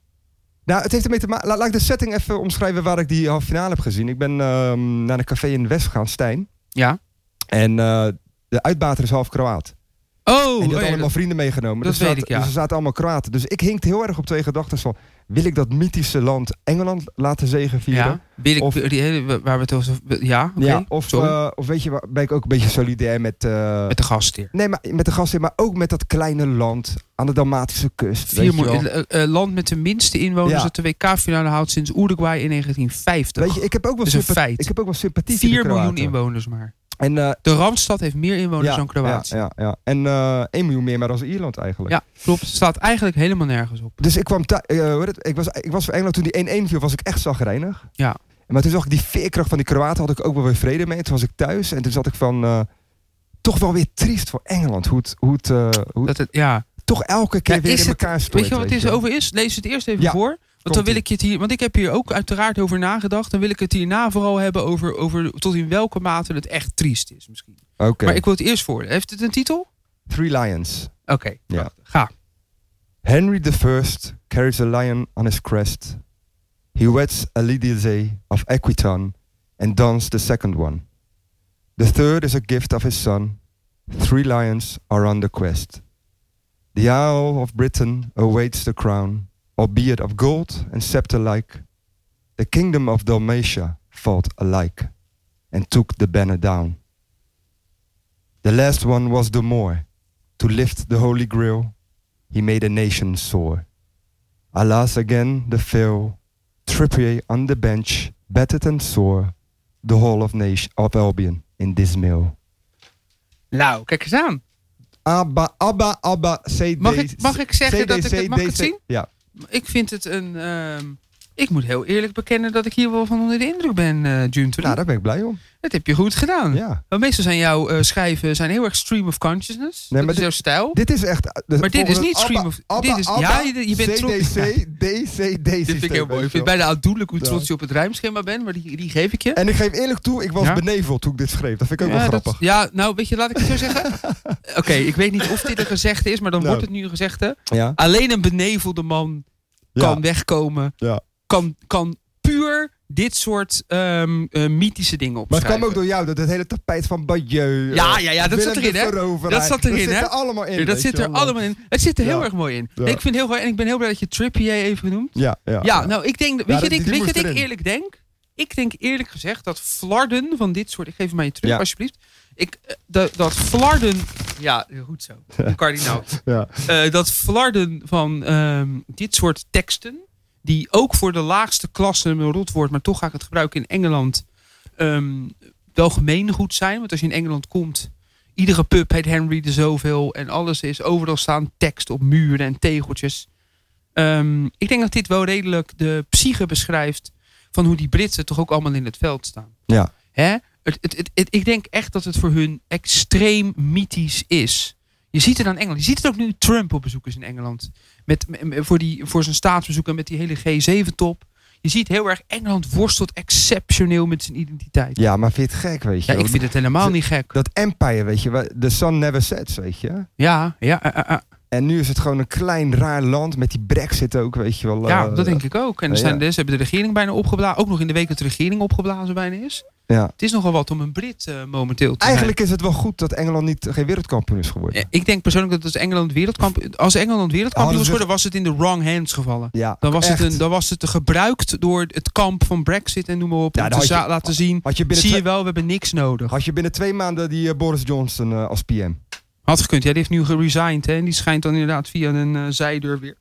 [SPEAKER 2] Nou, het heeft ermee te maken. Laat, laat ik de setting even omschrijven waar ik die halve finale heb gezien. Ik ben ehm, naar een café in de West gegaan, Stijn.
[SPEAKER 1] Ja.
[SPEAKER 2] En eh, de uitbater is half Kroaat.
[SPEAKER 1] Oh,
[SPEAKER 2] en die
[SPEAKER 1] oh
[SPEAKER 2] had
[SPEAKER 1] ja,
[SPEAKER 2] allemaal
[SPEAKER 1] dat-
[SPEAKER 2] vrienden meegenomen.
[SPEAKER 1] dat
[SPEAKER 2] dus er
[SPEAKER 1] weet
[SPEAKER 2] zaten-
[SPEAKER 1] ik, ja.
[SPEAKER 2] Dus er zaten allemaal Kroaten. Dus ik hinkte heel erg op twee gedachten van... wil ik dat mythische land Engeland laten zegenvieren?
[SPEAKER 1] ja. Wil ik,
[SPEAKER 2] Of-
[SPEAKER 1] die hele, waar we het over... Ja, oké.
[SPEAKER 2] Ja, of,
[SPEAKER 1] Sorry.
[SPEAKER 2] eh, of weet je, waar- ben ik ook een beetje solidair met... eh,
[SPEAKER 1] met de gastheer.
[SPEAKER 2] Nee, maar met de gasten, maar ook met dat kleine land aan de Dalmatische kust. weet,
[SPEAKER 1] Vier
[SPEAKER 2] je wel.
[SPEAKER 1] miljoen- eh, eh, land met de minste inwoners
[SPEAKER 2] Ja.
[SPEAKER 1] dat de WK-finale houdt sinds Uruguay in 1950.
[SPEAKER 2] weet je, ik heb ook wel,
[SPEAKER 1] Dat is een
[SPEAKER 2] sympa-
[SPEAKER 1] feit.
[SPEAKER 2] Ik heb ook wel sympathie voor de
[SPEAKER 1] 4 miljoen
[SPEAKER 2] Kroaten.
[SPEAKER 1] inwoners maar.
[SPEAKER 2] En, eh,
[SPEAKER 1] De Randstad heeft meer inwoners
[SPEAKER 2] ja,
[SPEAKER 1] dan Kroatië.
[SPEAKER 2] Ja, ja, ja. En eh, 1 miljoen meer maar dan Ierland eigenlijk.
[SPEAKER 1] Ja, klopt. Het staat eigenlijk helemaal nergens op.
[SPEAKER 2] Dus ik kwam thuis. ik, was, ik was voor Engeland toen die 1-1 viel, was ik echt zagrijnig.
[SPEAKER 1] Ja.
[SPEAKER 2] Maar toen zag ik die veerkracht van die Kroaten, had ik ook wel weer vrede mee. Toen was ik thuis en toen zat ik van. eh, toch wel weer triest voor Engeland. Hoe het, hoe het, eh, hoe het
[SPEAKER 1] Dat het, ja.
[SPEAKER 2] toch elke keer
[SPEAKER 1] Ja,
[SPEAKER 2] weer
[SPEAKER 1] is
[SPEAKER 2] in
[SPEAKER 1] het-
[SPEAKER 2] elkaar stort.
[SPEAKER 1] Weet je wat het is over is? Lees het eerst even
[SPEAKER 2] Ja,
[SPEAKER 1] voor. Want dan
[SPEAKER 2] komt-ie.
[SPEAKER 1] wil ik je het hier. Want ik heb hier ook uiteraard over nagedacht. Dan wil ik het hierna vooral hebben over, over tot in welke mate het echt triest is misschien.
[SPEAKER 2] Oké.
[SPEAKER 1] Maar ik wil het eerst voor. Heeft het een titel?
[SPEAKER 2] Three Lions.
[SPEAKER 1] Oké,
[SPEAKER 2] Ja.
[SPEAKER 1] prachtig. ga.
[SPEAKER 2] Henry I carries a lion on his crest. He weds Elidise of Equitan and dons the second one. The third is a gift of his son. Three lions are on the quest. The Isle of Britain awaits the crown, albeit of gold and scepter like. The kingdom of Dalmatia fought alike and took the banner down. The last one was the Moor to lift the Holy Grail he made a nation soar. Alas, again the fail. Trippier on the bench, battered and sore. The whole of, nation, of Albion in dismal.
[SPEAKER 1] Nou, kijk eens aan.
[SPEAKER 2] Abba, Abba, Abba, CD.
[SPEAKER 1] Mag ik, mag ik zeggen
[SPEAKER 2] CD,
[SPEAKER 1] dat ik het mag ik het
[SPEAKER 2] CD.
[SPEAKER 1] zien?
[SPEAKER 2] Ja.
[SPEAKER 1] Ik vind het een. ehm, ik moet heel eerlijk bekennen dat ik hier wel van onder de indruk ben, eh Junturi.
[SPEAKER 2] Nou, daar ben ik blij om.
[SPEAKER 1] dat heb je goed gedaan.
[SPEAKER 2] Ja.
[SPEAKER 1] Want meestal zijn jouw eh, schrijven zijn heel erg stream of consciousness.
[SPEAKER 2] maar
[SPEAKER 1] dat is
[SPEAKER 2] dit-
[SPEAKER 1] jouw stijl.
[SPEAKER 2] Dit is echt... eh,
[SPEAKER 1] Maar dit is niet Stream of- dit is- ja, je- je bent trots.
[SPEAKER 2] CDC, DCD.
[SPEAKER 1] Dit vind ik heel mooi. Ik vind het bijna aandoenlijk hoe trots je op het rijmschema bent, maar die, die geef ik je.
[SPEAKER 2] En ik geef eerlijk toe, ik was
[SPEAKER 1] Ja?
[SPEAKER 2] beneveld toen ik dit schreef. Dat vind ik ook wel
[SPEAKER 1] dat-
[SPEAKER 2] grappig.
[SPEAKER 1] ja, nou weet je, laat ik het zo zeggen. Oké, ik weet niet of dit een gezegde is, maar dan
[SPEAKER 2] Nou.
[SPEAKER 1] wordt het nu een gezegde.
[SPEAKER 2] Ja.
[SPEAKER 1] Alleen een benevelde man kan wegkomen.
[SPEAKER 2] Ja.
[SPEAKER 1] Kan, kan puur dit soort ehm, eh, mythische dingen
[SPEAKER 2] Maar het
[SPEAKER 1] opschrijven.
[SPEAKER 2] kwam ook door jou, dat het hele tapijt van Bayeux.
[SPEAKER 1] Ja,
[SPEAKER 2] eh,
[SPEAKER 1] ja, ja, dat
[SPEAKER 2] Willem
[SPEAKER 1] zat erin,
[SPEAKER 2] de
[SPEAKER 1] hè?
[SPEAKER 2] Veroveraar,
[SPEAKER 1] Dat zat erin,
[SPEAKER 2] Dat
[SPEAKER 1] hè?
[SPEAKER 2] zit er allemaal
[SPEAKER 1] Ja,
[SPEAKER 2] in.
[SPEAKER 1] dat
[SPEAKER 2] weet
[SPEAKER 1] zit
[SPEAKER 2] je
[SPEAKER 1] er
[SPEAKER 2] wel.
[SPEAKER 1] allemaal in. Het zit er heel
[SPEAKER 2] Ja.
[SPEAKER 1] erg mooi in.
[SPEAKER 2] Ja.
[SPEAKER 1] Nee, ik vind het heel goed en ik ben heel blij dat je Trippier heeft genoemd.
[SPEAKER 2] Ja, ja.
[SPEAKER 1] Ja, nou, ik denk, weet
[SPEAKER 2] dat-
[SPEAKER 1] je, wat ik,
[SPEAKER 2] die
[SPEAKER 1] weet je
[SPEAKER 2] moest
[SPEAKER 1] wat ik
[SPEAKER 2] erin.
[SPEAKER 1] eerlijk denk? Ik denk eerlijk gezegd dat flarden van dit soort, ik geef hem aan je terug,
[SPEAKER 2] Ja.
[SPEAKER 1] alsjeblieft. Ik, eh, dat, dat flarden, ja, goed zo, nou? een kardinaal.
[SPEAKER 2] Ja.
[SPEAKER 1] Eh, dat flarden van ehm, dit soort teksten die ook voor de laagste klasse, een rot woord, maar toch ga ik het gebruiken in Engeland, ehm wel gemeengoed zijn. Want als je in Engeland komt, iedere pub heet Henry de zoveel en alles is, overal staan tekst op muren en tegeltjes. Ehm, ik denk dat dit wel redelijk de psyche beschrijft van hoe die Britten toch ook allemaal in het veld staan.
[SPEAKER 2] Ja.
[SPEAKER 1] Hè? Het, het, het, het- ik denk echt dat het voor hun extreem mythisch is. Je ziet het aan Engeland. Je ziet het ook nu Trump op bezoek is in Engeland. Met, m- m- voor, die, voor zijn staatsbezoek en met die hele G7-top. Je ziet heel erg, Engeland worstelt exceptioneel met zijn identiteit.
[SPEAKER 2] ja, maar vind je het gek, weet
[SPEAKER 1] Ja,
[SPEAKER 2] je?
[SPEAKER 1] ik
[SPEAKER 2] wel?
[SPEAKER 1] vind het helemaal
[SPEAKER 2] ze-
[SPEAKER 1] niet gek.
[SPEAKER 2] Dat empire, weet je, waar- the sun never sets, weet je.
[SPEAKER 1] Ja, ja, eh, eh, eh.
[SPEAKER 2] En nu is het gewoon een klein raar land met die brexit ook, weet je wel.
[SPEAKER 1] ja
[SPEAKER 2] eh,
[SPEAKER 1] dat denk ik ook. En er
[SPEAKER 2] eh,
[SPEAKER 1] zijn,
[SPEAKER 2] ja.
[SPEAKER 1] ze hebben de regering bijna opgeblazen. Ook nog in de week dat de regering opgeblazen bijna is.
[SPEAKER 2] Ja.
[SPEAKER 1] Het is nogal wat om een Brit eh, momenteel te
[SPEAKER 2] Eigenlijk is het wel goed dat Engeland niet eh, geen wereldkampioen is geworden.
[SPEAKER 1] zijn. Eh, Ik denk persoonlijk dat als Engeland wereldkampioen, als Engeland wereldkampioen
[SPEAKER 2] Hadden
[SPEAKER 1] was
[SPEAKER 2] ze-
[SPEAKER 1] geworden, was het in de wrong hands gevallen.
[SPEAKER 2] Ja,
[SPEAKER 1] Dan was, het
[SPEAKER 2] echt.
[SPEAKER 1] een, dan was het gebruikt door het kamp van Brexit en noem maar op.
[SPEAKER 2] Ja,
[SPEAKER 1] om
[SPEAKER 2] dan
[SPEAKER 1] te
[SPEAKER 2] had
[SPEAKER 1] za-
[SPEAKER 2] je-
[SPEAKER 1] laten zien,
[SPEAKER 2] Had je binnen,
[SPEAKER 1] zie je
[SPEAKER 2] twee,
[SPEAKER 1] wel, we hebben niks nodig.
[SPEAKER 2] had je binnen twee maanden die eh, Boris Johnson eh, als PM?
[SPEAKER 1] Had gekund. Ja, die heeft nu geresigned. Hè, en die schijnt dan inderdaad via een eh, zijdeur weer,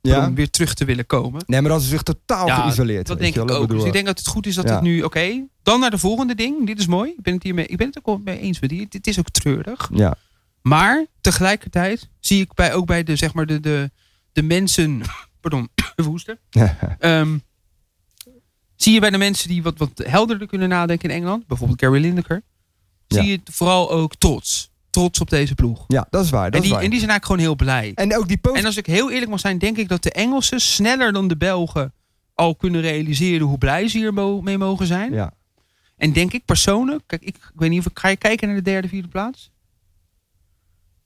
[SPEAKER 1] pardon, weer terug te willen komen.
[SPEAKER 2] Nee, maar dat is zich totaal
[SPEAKER 1] Ja,
[SPEAKER 2] geïsoleerd.
[SPEAKER 1] Dat
[SPEAKER 2] weet
[SPEAKER 1] denk
[SPEAKER 2] je
[SPEAKER 1] ik
[SPEAKER 2] wel.
[SPEAKER 1] ook.
[SPEAKER 2] bedoel,
[SPEAKER 1] Dus ik denk dat het goed is dat
[SPEAKER 2] Ja.
[SPEAKER 1] het nu, oké, dan naar de volgende ding. Dit is mooi. Ik ben het, hiermee, ik ben het ook wel mee eens met hier. Dit is ook treurig.
[SPEAKER 2] Ja.
[SPEAKER 1] Maar tegelijkertijd zie ik bij, ook bij de, zeg maar de, de, de mensen. Pardon, even hoesten. Ehm, zie je bij de mensen die wat, wat helderder kunnen nadenken in Engeland, bijvoorbeeld Gary Lineker,
[SPEAKER 2] Ja.
[SPEAKER 1] zie je vooral ook trots. Trots op deze ploeg.
[SPEAKER 2] ja, dat is waar. Dat
[SPEAKER 1] en,
[SPEAKER 2] is
[SPEAKER 1] die,
[SPEAKER 2] waar.
[SPEAKER 1] en die zijn eigenlijk gewoon heel blij.
[SPEAKER 2] En ook die post.
[SPEAKER 1] En als ik heel eerlijk mag zijn, denk ik dat de Engelsen sneller dan de Belgen al kunnen realiseren hoe blij ze hiermee mogen zijn.
[SPEAKER 2] ja.
[SPEAKER 1] En denk ik persoonlijk, kijk, ik, ik weet niet of ik ga je kijken naar de derde, vierde plaats.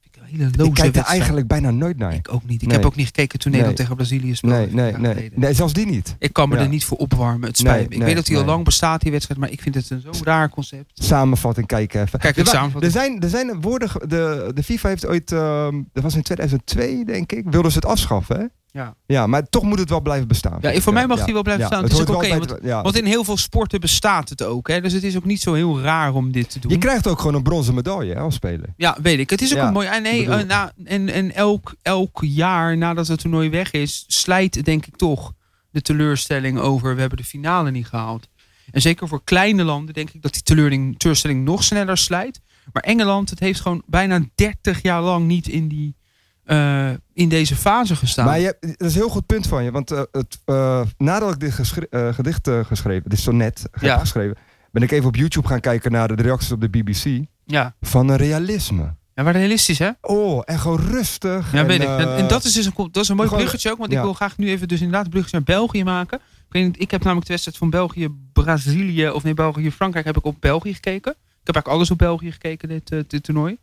[SPEAKER 1] Vind Ik, een hele loze
[SPEAKER 2] Ik kijk er
[SPEAKER 1] wedstrijd.
[SPEAKER 2] eigenlijk bijna nooit naar.
[SPEAKER 1] Ik ook niet. Ik
[SPEAKER 2] Nee.
[SPEAKER 1] heb ook niet gekeken toen Nederland
[SPEAKER 2] Nee.
[SPEAKER 1] tegen Brazilië speelde.
[SPEAKER 2] Nee, nee,
[SPEAKER 1] Ja,
[SPEAKER 2] nee.
[SPEAKER 1] geleden.
[SPEAKER 2] Nee, zelfs die niet.
[SPEAKER 1] Ik kan me
[SPEAKER 2] Ja.
[SPEAKER 1] er niet voor opwarmen. Het
[SPEAKER 2] Nee,
[SPEAKER 1] spijt me. Ik
[SPEAKER 2] nee,
[SPEAKER 1] weet dat hij al
[SPEAKER 2] nee.
[SPEAKER 1] lang bestaat, die wedstrijd, maar ik vind het een zo raar concept.
[SPEAKER 2] Samenvatting kijken even.
[SPEAKER 1] Kijk,
[SPEAKER 2] Er
[SPEAKER 1] ik
[SPEAKER 2] wa- Er
[SPEAKER 1] samenvatting.
[SPEAKER 2] zijn, er zijn woorden. ge- De, de FIFA heeft ooit. ehm, dat was in 2002, denk ik. Wilden ze het afschaffen, hè?
[SPEAKER 1] Ja.
[SPEAKER 2] Ja, maar toch moet het wel blijven bestaan.
[SPEAKER 1] Ja, voor mij mag die wel blijven
[SPEAKER 2] Ja,
[SPEAKER 1] staan. Het is
[SPEAKER 2] hoort
[SPEAKER 1] ook
[SPEAKER 2] wel
[SPEAKER 1] oké,
[SPEAKER 2] bij het- ja.
[SPEAKER 1] Want in heel veel sporten bestaat het ook. Hè? Dus het is ook niet zo heel raar om dit te doen.
[SPEAKER 2] Je krijgt ook gewoon een bronzen medaille hè, als speler.
[SPEAKER 1] Ja, weet ik. Het is ook
[SPEAKER 2] Ja,
[SPEAKER 1] een mooi. En, nee,
[SPEAKER 2] bedoel-
[SPEAKER 1] eh, na, en, en elk, elk jaar nadat het toernooi weg is, slijt denk ik toch de teleurstelling over we hebben de finale niet gehaald. En zeker voor kleine landen denk ik dat die teleurstelling, teleurstelling nog sneller slijt. Maar Engeland, het heeft gewoon bijna 30 jaar lang niet in, die, eh, in deze fase gestaan.
[SPEAKER 2] Maar je, hebt- dat is een heel goed punt van je. Want eh, het, eh, nadat ik dit geschre- eh, gedicht eh, geschreven, dit sonnet net
[SPEAKER 1] Ja.
[SPEAKER 2] geschreven, ben ik even op YouTube gaan kijken naar de reacties op de BBC
[SPEAKER 1] ja,
[SPEAKER 2] van een realisme.
[SPEAKER 1] ja, maar realistisch hè?
[SPEAKER 2] Oh, en gewoon rustig.
[SPEAKER 1] Ja,
[SPEAKER 2] en,
[SPEAKER 1] weet ik. En,
[SPEAKER 2] eh,
[SPEAKER 1] en dat is dus een, co- dat is een mooi
[SPEAKER 2] gewoon-
[SPEAKER 1] bruggetje ook. Want
[SPEAKER 2] ja.
[SPEAKER 1] ik wil graag nu even dus inderdaad een bruggetje naar België maken. Ik, weet niet, ik heb namelijk de wedstrijd van België, Brazilië of nee, België, Frankrijk heb ik op België gekeken. Ik heb eigenlijk alles op België gekeken, dit, eh, dit toernooi.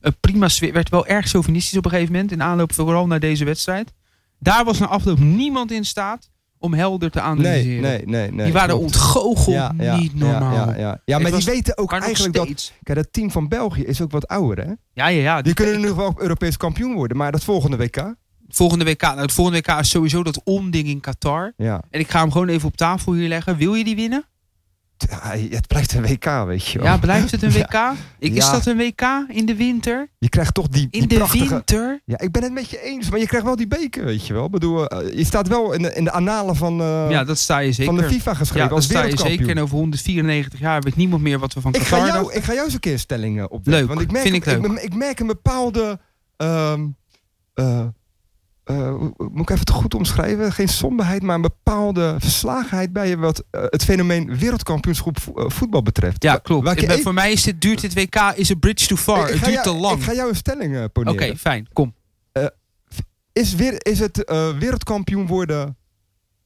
[SPEAKER 1] Eh, prima sfeer. Werd wel erg chauvinistisch op een gegeven moment. In aanloop vooral naar deze wedstrijd. Daar was na afloop niemand in staat om helder te
[SPEAKER 2] Nee,
[SPEAKER 1] analyseren.
[SPEAKER 2] nee, nee, nee.
[SPEAKER 1] Die waren
[SPEAKER 2] klopt.
[SPEAKER 1] ontgoocheld. niet
[SPEAKER 2] ja,
[SPEAKER 1] normaal.
[SPEAKER 2] Ja, ja. ja
[SPEAKER 1] Ik
[SPEAKER 2] maar
[SPEAKER 1] was-
[SPEAKER 2] die weten ook
[SPEAKER 1] Maar nog
[SPEAKER 2] eigenlijk dat...
[SPEAKER 1] steeds.
[SPEAKER 2] Kijk, dat team van België is ook wat ouder, hè?
[SPEAKER 1] Ja, ja, ja.
[SPEAKER 2] Die kunnen nu wel Europees kampioen worden, maar dat volgende WK...
[SPEAKER 1] Volgende WK. Nou, het volgende WK is sowieso dat omding in Qatar.
[SPEAKER 2] Ja,
[SPEAKER 1] En ik ga hem gewoon even op tafel hier leggen. Wil je die winnen?
[SPEAKER 2] T- ah, het blijft een WK, weet je wel.
[SPEAKER 1] Ja, blijft het een
[SPEAKER 2] Ja.
[SPEAKER 1] WK? Ik, is
[SPEAKER 2] Ja.
[SPEAKER 1] dat een WK in de winter?
[SPEAKER 2] Je krijgt toch die, die
[SPEAKER 1] In de
[SPEAKER 2] prachtige...
[SPEAKER 1] winter?
[SPEAKER 2] Ja, ik ben het met je eens, maar je krijgt wel die beker, weet je wel. Ik bedoel, eh, je staat wel in de, in de analen van, eh,
[SPEAKER 1] ja, dat sta je zeker.
[SPEAKER 2] van de FIFA geschreven
[SPEAKER 1] ja, dat
[SPEAKER 2] als
[SPEAKER 1] sta je
[SPEAKER 2] wereldkampioen.
[SPEAKER 1] zeker. En over 194 jaar weet niemand meer wat we van
[SPEAKER 2] Ik ga,
[SPEAKER 1] Qatar
[SPEAKER 2] jou,
[SPEAKER 1] dachten.
[SPEAKER 2] ik ga jou eens een keer stellingen opdoen.
[SPEAKER 1] Leuk,
[SPEAKER 2] Want ik merk,
[SPEAKER 1] vind ik leuk.
[SPEAKER 2] Ik, ik merk een bepaalde... ehm, eh, eh, hoe- hoe- moet ik even het goed omschrijven? Geen somberheid, maar een bepaalde verslagenheid bij je... wat eh, het fenomeen wereldkampioenschap vo- eh, voetbal betreft.
[SPEAKER 1] Ja,
[SPEAKER 2] Wa-
[SPEAKER 1] klopt.
[SPEAKER 2] waar
[SPEAKER 1] Ik ben-
[SPEAKER 2] even-
[SPEAKER 1] voor mij is dit, duurt dit WK is een bridge too
[SPEAKER 2] Ik-
[SPEAKER 1] far.
[SPEAKER 2] ik
[SPEAKER 1] het
[SPEAKER 2] ga
[SPEAKER 1] duurt
[SPEAKER 2] jou-
[SPEAKER 1] te lang.
[SPEAKER 2] Ik ga jou een stelling eh,
[SPEAKER 1] Oké,
[SPEAKER 2] poneren.
[SPEAKER 1] fijn. Kom.
[SPEAKER 2] Is, weer, is het eh, wereldkampioen worden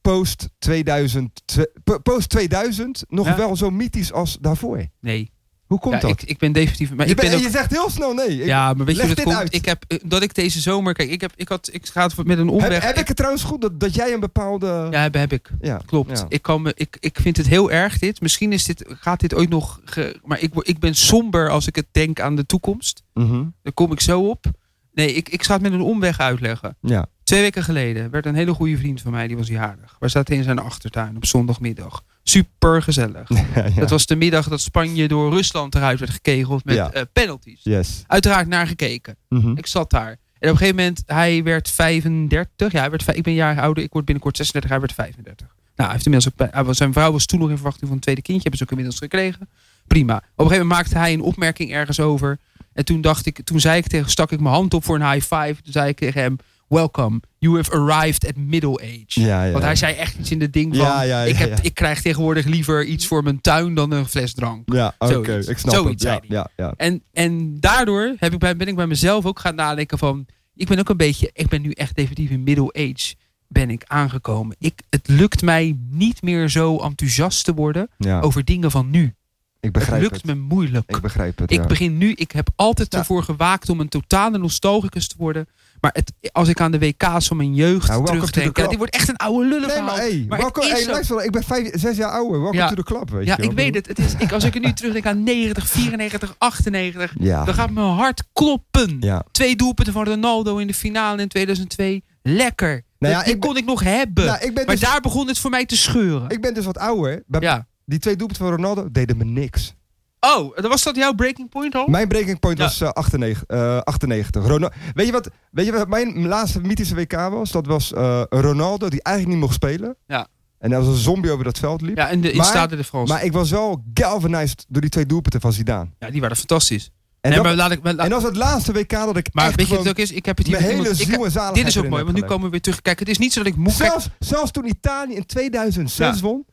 [SPEAKER 2] post 2000, po- post 2000 nog
[SPEAKER 1] Ja.
[SPEAKER 2] wel zo mythisch als daarvoor?
[SPEAKER 1] Nee.
[SPEAKER 2] Hoe komt
[SPEAKER 1] Ja,
[SPEAKER 2] dat?
[SPEAKER 1] ik, ik ben definitief... Maar
[SPEAKER 2] je,
[SPEAKER 1] ik ben
[SPEAKER 2] bent-
[SPEAKER 1] ook,
[SPEAKER 2] je zegt heel snel nee. Ik-
[SPEAKER 1] ja, maar weet je hoe
[SPEAKER 2] leg
[SPEAKER 1] dat
[SPEAKER 2] dit
[SPEAKER 1] komt?
[SPEAKER 2] uit.
[SPEAKER 1] Ik heb, eh, dat ik deze zomer... Kijk, ik, heb, ik, had, ik ga het met een omweg...
[SPEAKER 2] heb, heb ik het trouwens goed dat, dat jij een bepaalde...
[SPEAKER 1] Ja, heb, heb ik.
[SPEAKER 2] Ja,
[SPEAKER 1] Klopt.
[SPEAKER 2] ja.
[SPEAKER 1] Ik, kan me, ik, ik vind het heel erg dit. Misschien is dit, gaat dit ooit nog... ge- maar ik, word- ik ben somber als ik het denk aan de toekomst.
[SPEAKER 2] Mhm,
[SPEAKER 1] Daar kom ik zo op. Nee, ik, ik ga het met een omweg uitleggen.
[SPEAKER 2] ja.
[SPEAKER 1] Twee weken geleden werd een hele goede vriend van mij, die was jarig. We zaten in zijn achtertuin op zondagmiddag. Super gezellig.
[SPEAKER 2] Ja.
[SPEAKER 1] Dat was de middag dat Spanje door Rusland eruit werd gekegeld met
[SPEAKER 2] Ja.
[SPEAKER 1] eh, penalties.
[SPEAKER 2] Yes.
[SPEAKER 1] Uiteraard naar gekeken.
[SPEAKER 2] Mhm.
[SPEAKER 1] Ik zat daar. En op een gegeven moment, hij werd 35. Ja, hij werd, vij- ik ben een jaar ouder. Ik word binnenkort 36. Hij werd 35. Nou, hij heeft inmiddels ook, hij was- zijn vrouw was toen nog in verwachting van een tweede kindje. Hebben ze ook inmiddels gekregen. Prima. Op een gegeven moment maakte hij een opmerking ergens over. En toen dacht ik, toen zei ik tegen, stak ik mijn hand op voor een high five. Toen zei ik tegen hem, welcome. You have arrived at middle age.
[SPEAKER 2] Ja, ja.
[SPEAKER 1] Want hij zei echt iets in het ding van,
[SPEAKER 2] Ja, ja, ja,
[SPEAKER 1] ik, heb,
[SPEAKER 2] ja.
[SPEAKER 1] ik krijg tegenwoordig liever iets voor mijn tuin dan een fles drank.
[SPEAKER 2] Ja, oké,
[SPEAKER 1] Zoiets.
[SPEAKER 2] ik snap
[SPEAKER 1] Zoiets
[SPEAKER 2] het.
[SPEAKER 1] zei
[SPEAKER 2] Ja,
[SPEAKER 1] hij.
[SPEAKER 2] ja, ja.
[SPEAKER 1] En, en daardoor heb ik bij, ben ik bij mezelf ook gaan nadenken van... Ik ben ook een beetje... Ik ben nu echt definitief in middle age ben ik aangekomen. Ik, het lukt mij niet meer zo enthousiast te worden
[SPEAKER 2] ja.
[SPEAKER 1] over dingen van nu.
[SPEAKER 2] ik
[SPEAKER 1] Oh, Het
[SPEAKER 2] begrijp
[SPEAKER 1] lukt
[SPEAKER 2] het.
[SPEAKER 1] me moeilijk.
[SPEAKER 2] Ik begrijp het, ja.
[SPEAKER 1] Ik begin nu, ik heb altijd
[SPEAKER 2] Ja.
[SPEAKER 1] ervoor gewaakt om een totale nostalgicus te worden. Maar het, als ik aan de WK's van mijn jeugd
[SPEAKER 2] Nou, welcome to the
[SPEAKER 1] terugdenk...
[SPEAKER 2] club.
[SPEAKER 1] Ja, dit wordt echt een oude lullenverhaal.
[SPEAKER 2] Nee, maar hey,
[SPEAKER 1] maar
[SPEAKER 2] welkom,
[SPEAKER 1] het is
[SPEAKER 2] hey,
[SPEAKER 1] zo.
[SPEAKER 2] luister, wel, ik ben vijf, zes jaar ouder. Welkom
[SPEAKER 1] Ja.
[SPEAKER 2] to the club, weet
[SPEAKER 1] ja,
[SPEAKER 2] je wel.
[SPEAKER 1] ik weet het. het is, ik, als ik er nu terugdenk aan 90, 94, 98...
[SPEAKER 2] Ja,
[SPEAKER 1] dan gaat mijn hart kloppen.
[SPEAKER 2] ja.
[SPEAKER 1] Twee doelpunten van Ronaldo in de finale in 2002. Lekker.
[SPEAKER 2] Nou ja,
[SPEAKER 1] Dat- die
[SPEAKER 2] ik ben-
[SPEAKER 1] kon ik nog hebben.
[SPEAKER 2] Nou, ik, ben
[SPEAKER 1] maar
[SPEAKER 2] dus,
[SPEAKER 1] daar begon het voor mij te scheuren.
[SPEAKER 2] ik ben dus wat ouder. Bij-
[SPEAKER 1] Ja.
[SPEAKER 2] Die twee doelpunten van Ronaldo deden me niks.
[SPEAKER 1] Oh, dan was dat jouw breaking point al?
[SPEAKER 2] Mijn breaking point
[SPEAKER 1] Ja.
[SPEAKER 2] was eh, 98. eh, 98. Rona- weet, je wat, weet je wat mijn laatste mythische WK was? Dat was eh, een Ronaldo die eigenlijk niet mocht spelen.
[SPEAKER 1] Ja.
[SPEAKER 2] En als een zombie over dat veld liep.
[SPEAKER 1] ja, in, de, in
[SPEAKER 2] Maar-
[SPEAKER 1] Stade de France.
[SPEAKER 2] Maar ik was wel galvanized door die twee doelpunten van Zidane.
[SPEAKER 1] ja, die waren fantastisch.
[SPEAKER 2] En,
[SPEAKER 1] nee,
[SPEAKER 2] dat,
[SPEAKER 1] maar laat ik, maar, laat-
[SPEAKER 2] en dat was het laatste WK dat ik
[SPEAKER 1] maar
[SPEAKER 2] echt
[SPEAKER 1] weet je wat
[SPEAKER 2] gewoon
[SPEAKER 1] het ook is? Ik heb het hier
[SPEAKER 2] mijn
[SPEAKER 1] met
[SPEAKER 2] hele
[SPEAKER 1] iemand- ik-
[SPEAKER 2] ziel en
[SPEAKER 1] Dit is
[SPEAKER 2] zaligheid
[SPEAKER 1] ook
[SPEAKER 2] erin
[SPEAKER 1] mooi,
[SPEAKER 2] heb
[SPEAKER 1] want nu
[SPEAKER 2] gelegd.
[SPEAKER 1] komen we weer terug. Kijk, het is niet zo dat ik moe kijk.
[SPEAKER 2] Zelfs, zelfs toen Italië in 2006
[SPEAKER 1] Ja.
[SPEAKER 2] won.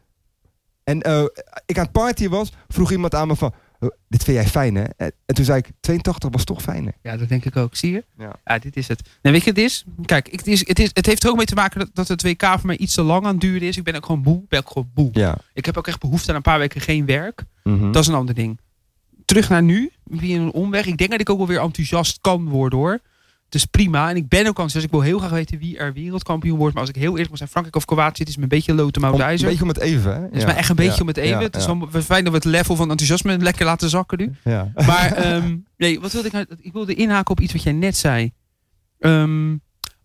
[SPEAKER 2] En eh, ik aan het party was, vroeg iemand aan me van... "Oh, Dit vind jij fijn, hè? En en toen zei ik, 82 was toch fijn, hè?
[SPEAKER 1] Ja, dat denk ik ook. Zie je?
[SPEAKER 2] Ja.
[SPEAKER 1] dit is het. Nee, weet je, het is. Kijk, het, is, het, is, het heeft er ook mee te maken dat, dat het WK voor mij iets te lang aan het duren is. Ik ben ook gewoon moe. Ik ben ook gewoon moe.
[SPEAKER 2] Ja.
[SPEAKER 1] Ik heb ook echt behoefte aan een paar weken geen werk.
[SPEAKER 2] Hm?
[SPEAKER 1] Dat is een ander ding. Terug naar nu, via een omweg. Ik denk dat ik ook wel weer enthousiast kan worden hoor. Het is prima. En ik ben ook enthousiast. Ik wil heel graag weten wie er wereldkampioen wordt. Maar als ik heel eerlijk moet zijn, Frankrijk of Kroatië, het is me een beetje loten
[SPEAKER 2] Om-
[SPEAKER 1] mout
[SPEAKER 2] een
[SPEAKER 1] ijzer.
[SPEAKER 2] beetje om het even, hè?
[SPEAKER 1] Het is me echt een beetje om het even.
[SPEAKER 2] Ja,
[SPEAKER 1] het is
[SPEAKER 2] ja.
[SPEAKER 1] wel wel fijn dat we het level van enthousiasme lekker laten zakken nu.
[SPEAKER 2] Ja.
[SPEAKER 1] Maar ehm, nee, wat wilde ik nou? Ik wilde inhaken op iets wat jij net zei. Ehm,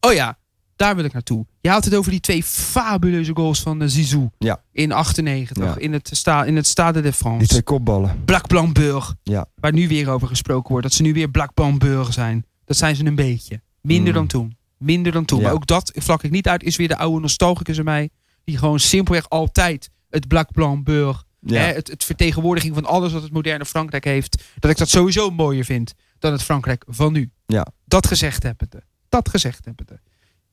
[SPEAKER 1] oh ja, daar wil ik naartoe. Je had het over die twee fabuleuze goals van eh, Zizou.
[SPEAKER 2] Ja.
[SPEAKER 1] In 98,
[SPEAKER 2] Ja.
[SPEAKER 1] in, het sta, in het Stade de
[SPEAKER 2] Die
[SPEAKER 1] France.
[SPEAKER 2] twee kopballen.
[SPEAKER 1] Blakblamburg.
[SPEAKER 2] Ja.
[SPEAKER 1] Waar nu weer over gesproken wordt. Dat ze nu weer Blakblamburg zijn. Dat zijn ze een beetje. Minder
[SPEAKER 2] Mm.
[SPEAKER 1] dan toen. Minder dan toen.
[SPEAKER 2] Ja.
[SPEAKER 1] Maar ook dat vlak ik niet uit. Is weer de oude nostalgicus in mij. Die gewoon simpelweg altijd het Blakblamburg
[SPEAKER 2] Ja.
[SPEAKER 1] Hè, het, het vertegenwoordiging van alles wat het moderne Frankrijk heeft. Dat ik dat sowieso mooier vind dan het Frankrijk van nu.
[SPEAKER 2] Ja.
[SPEAKER 1] Dat gezegd hebbende. Dat gezegd hebbende.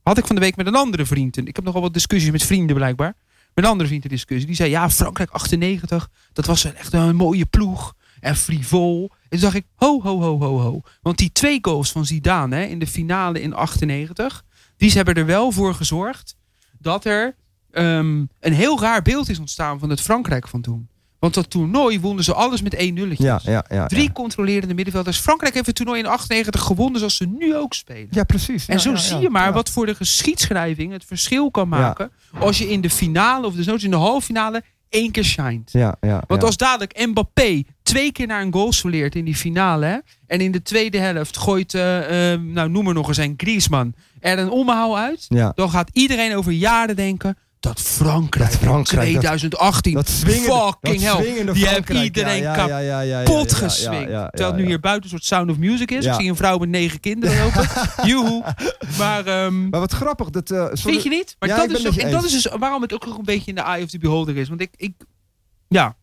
[SPEAKER 1] Had ik van de week met een andere vriend. en Ik heb nogal wat discussies met vrienden blijkbaar. Met een andere vriend een discussie. Die zei ja Frankrijk 98. Dat was een- echt een mooie ploeg. En frivol. En toen dacht ik ho ho ho ho ho. Want die twee goals van Zidane hè, in de finale in 98. Die hebben er wel voor gezorgd. Dat er ehm, een heel raar beeld is ontstaan van het Frankrijk van toen. Want dat toernooi wonnen ze alles met 1 nulletjes.
[SPEAKER 2] ja, ja, ja.
[SPEAKER 1] Drie
[SPEAKER 2] ja.
[SPEAKER 1] controlerende middenvelders. Frankrijk heeft het toernooi in 98 gewonnen zoals ze nu ook spelen.
[SPEAKER 2] Ja, precies.
[SPEAKER 1] En
[SPEAKER 2] Ja,
[SPEAKER 1] zo
[SPEAKER 2] ja,
[SPEAKER 1] zie
[SPEAKER 2] ja.
[SPEAKER 1] je maar
[SPEAKER 2] Ja.
[SPEAKER 1] wat voor de geschiedschrijving het verschil kan
[SPEAKER 2] Ja.
[SPEAKER 1] maken. Als je in de finale of desnoods in de halve finale één keer shined.
[SPEAKER 2] Ja, ja.
[SPEAKER 1] Want
[SPEAKER 2] ja.
[SPEAKER 1] als dadelijk Mbappé twee keer naar een goal soleert in die finale. hè, En in de tweede helft gooit, eh, eh, nou noem maar nog eens een Griezmann, er een omhaal uit.
[SPEAKER 2] Ja.
[SPEAKER 1] Dan gaat iedereen over jaren denken dat Frankrijk,
[SPEAKER 2] Dat Frankrijk, dat-
[SPEAKER 1] 2018
[SPEAKER 2] Dat swingende,
[SPEAKER 1] fucking
[SPEAKER 2] dat
[SPEAKER 1] hell.
[SPEAKER 2] swingende
[SPEAKER 1] Die
[SPEAKER 2] Frankrijk.
[SPEAKER 1] heeft iedereen
[SPEAKER 2] ja, ja, ja, ja, ja, ja, ja,
[SPEAKER 1] pot
[SPEAKER 2] ja, ja,
[SPEAKER 1] geswingt.
[SPEAKER 2] ja, ja,
[SPEAKER 1] Terwijl het nu
[SPEAKER 2] ja.
[SPEAKER 1] hier buiten een soort Sound of Music is.
[SPEAKER 2] Ja.
[SPEAKER 1] Ik zie een vrouw met negen kinderen lopen. Joehoe. Maar, ehm,
[SPEAKER 2] Maar wat grappig, dat... eh, sorry-
[SPEAKER 1] vind je niet? Maar
[SPEAKER 2] Ja, ik
[SPEAKER 1] dat,
[SPEAKER 2] ben
[SPEAKER 1] is
[SPEAKER 2] met
[SPEAKER 1] ook,
[SPEAKER 2] je
[SPEAKER 1] en dat is dus waarom het ook nog een beetje in de eye of the beholder is. Want ik... ik ja.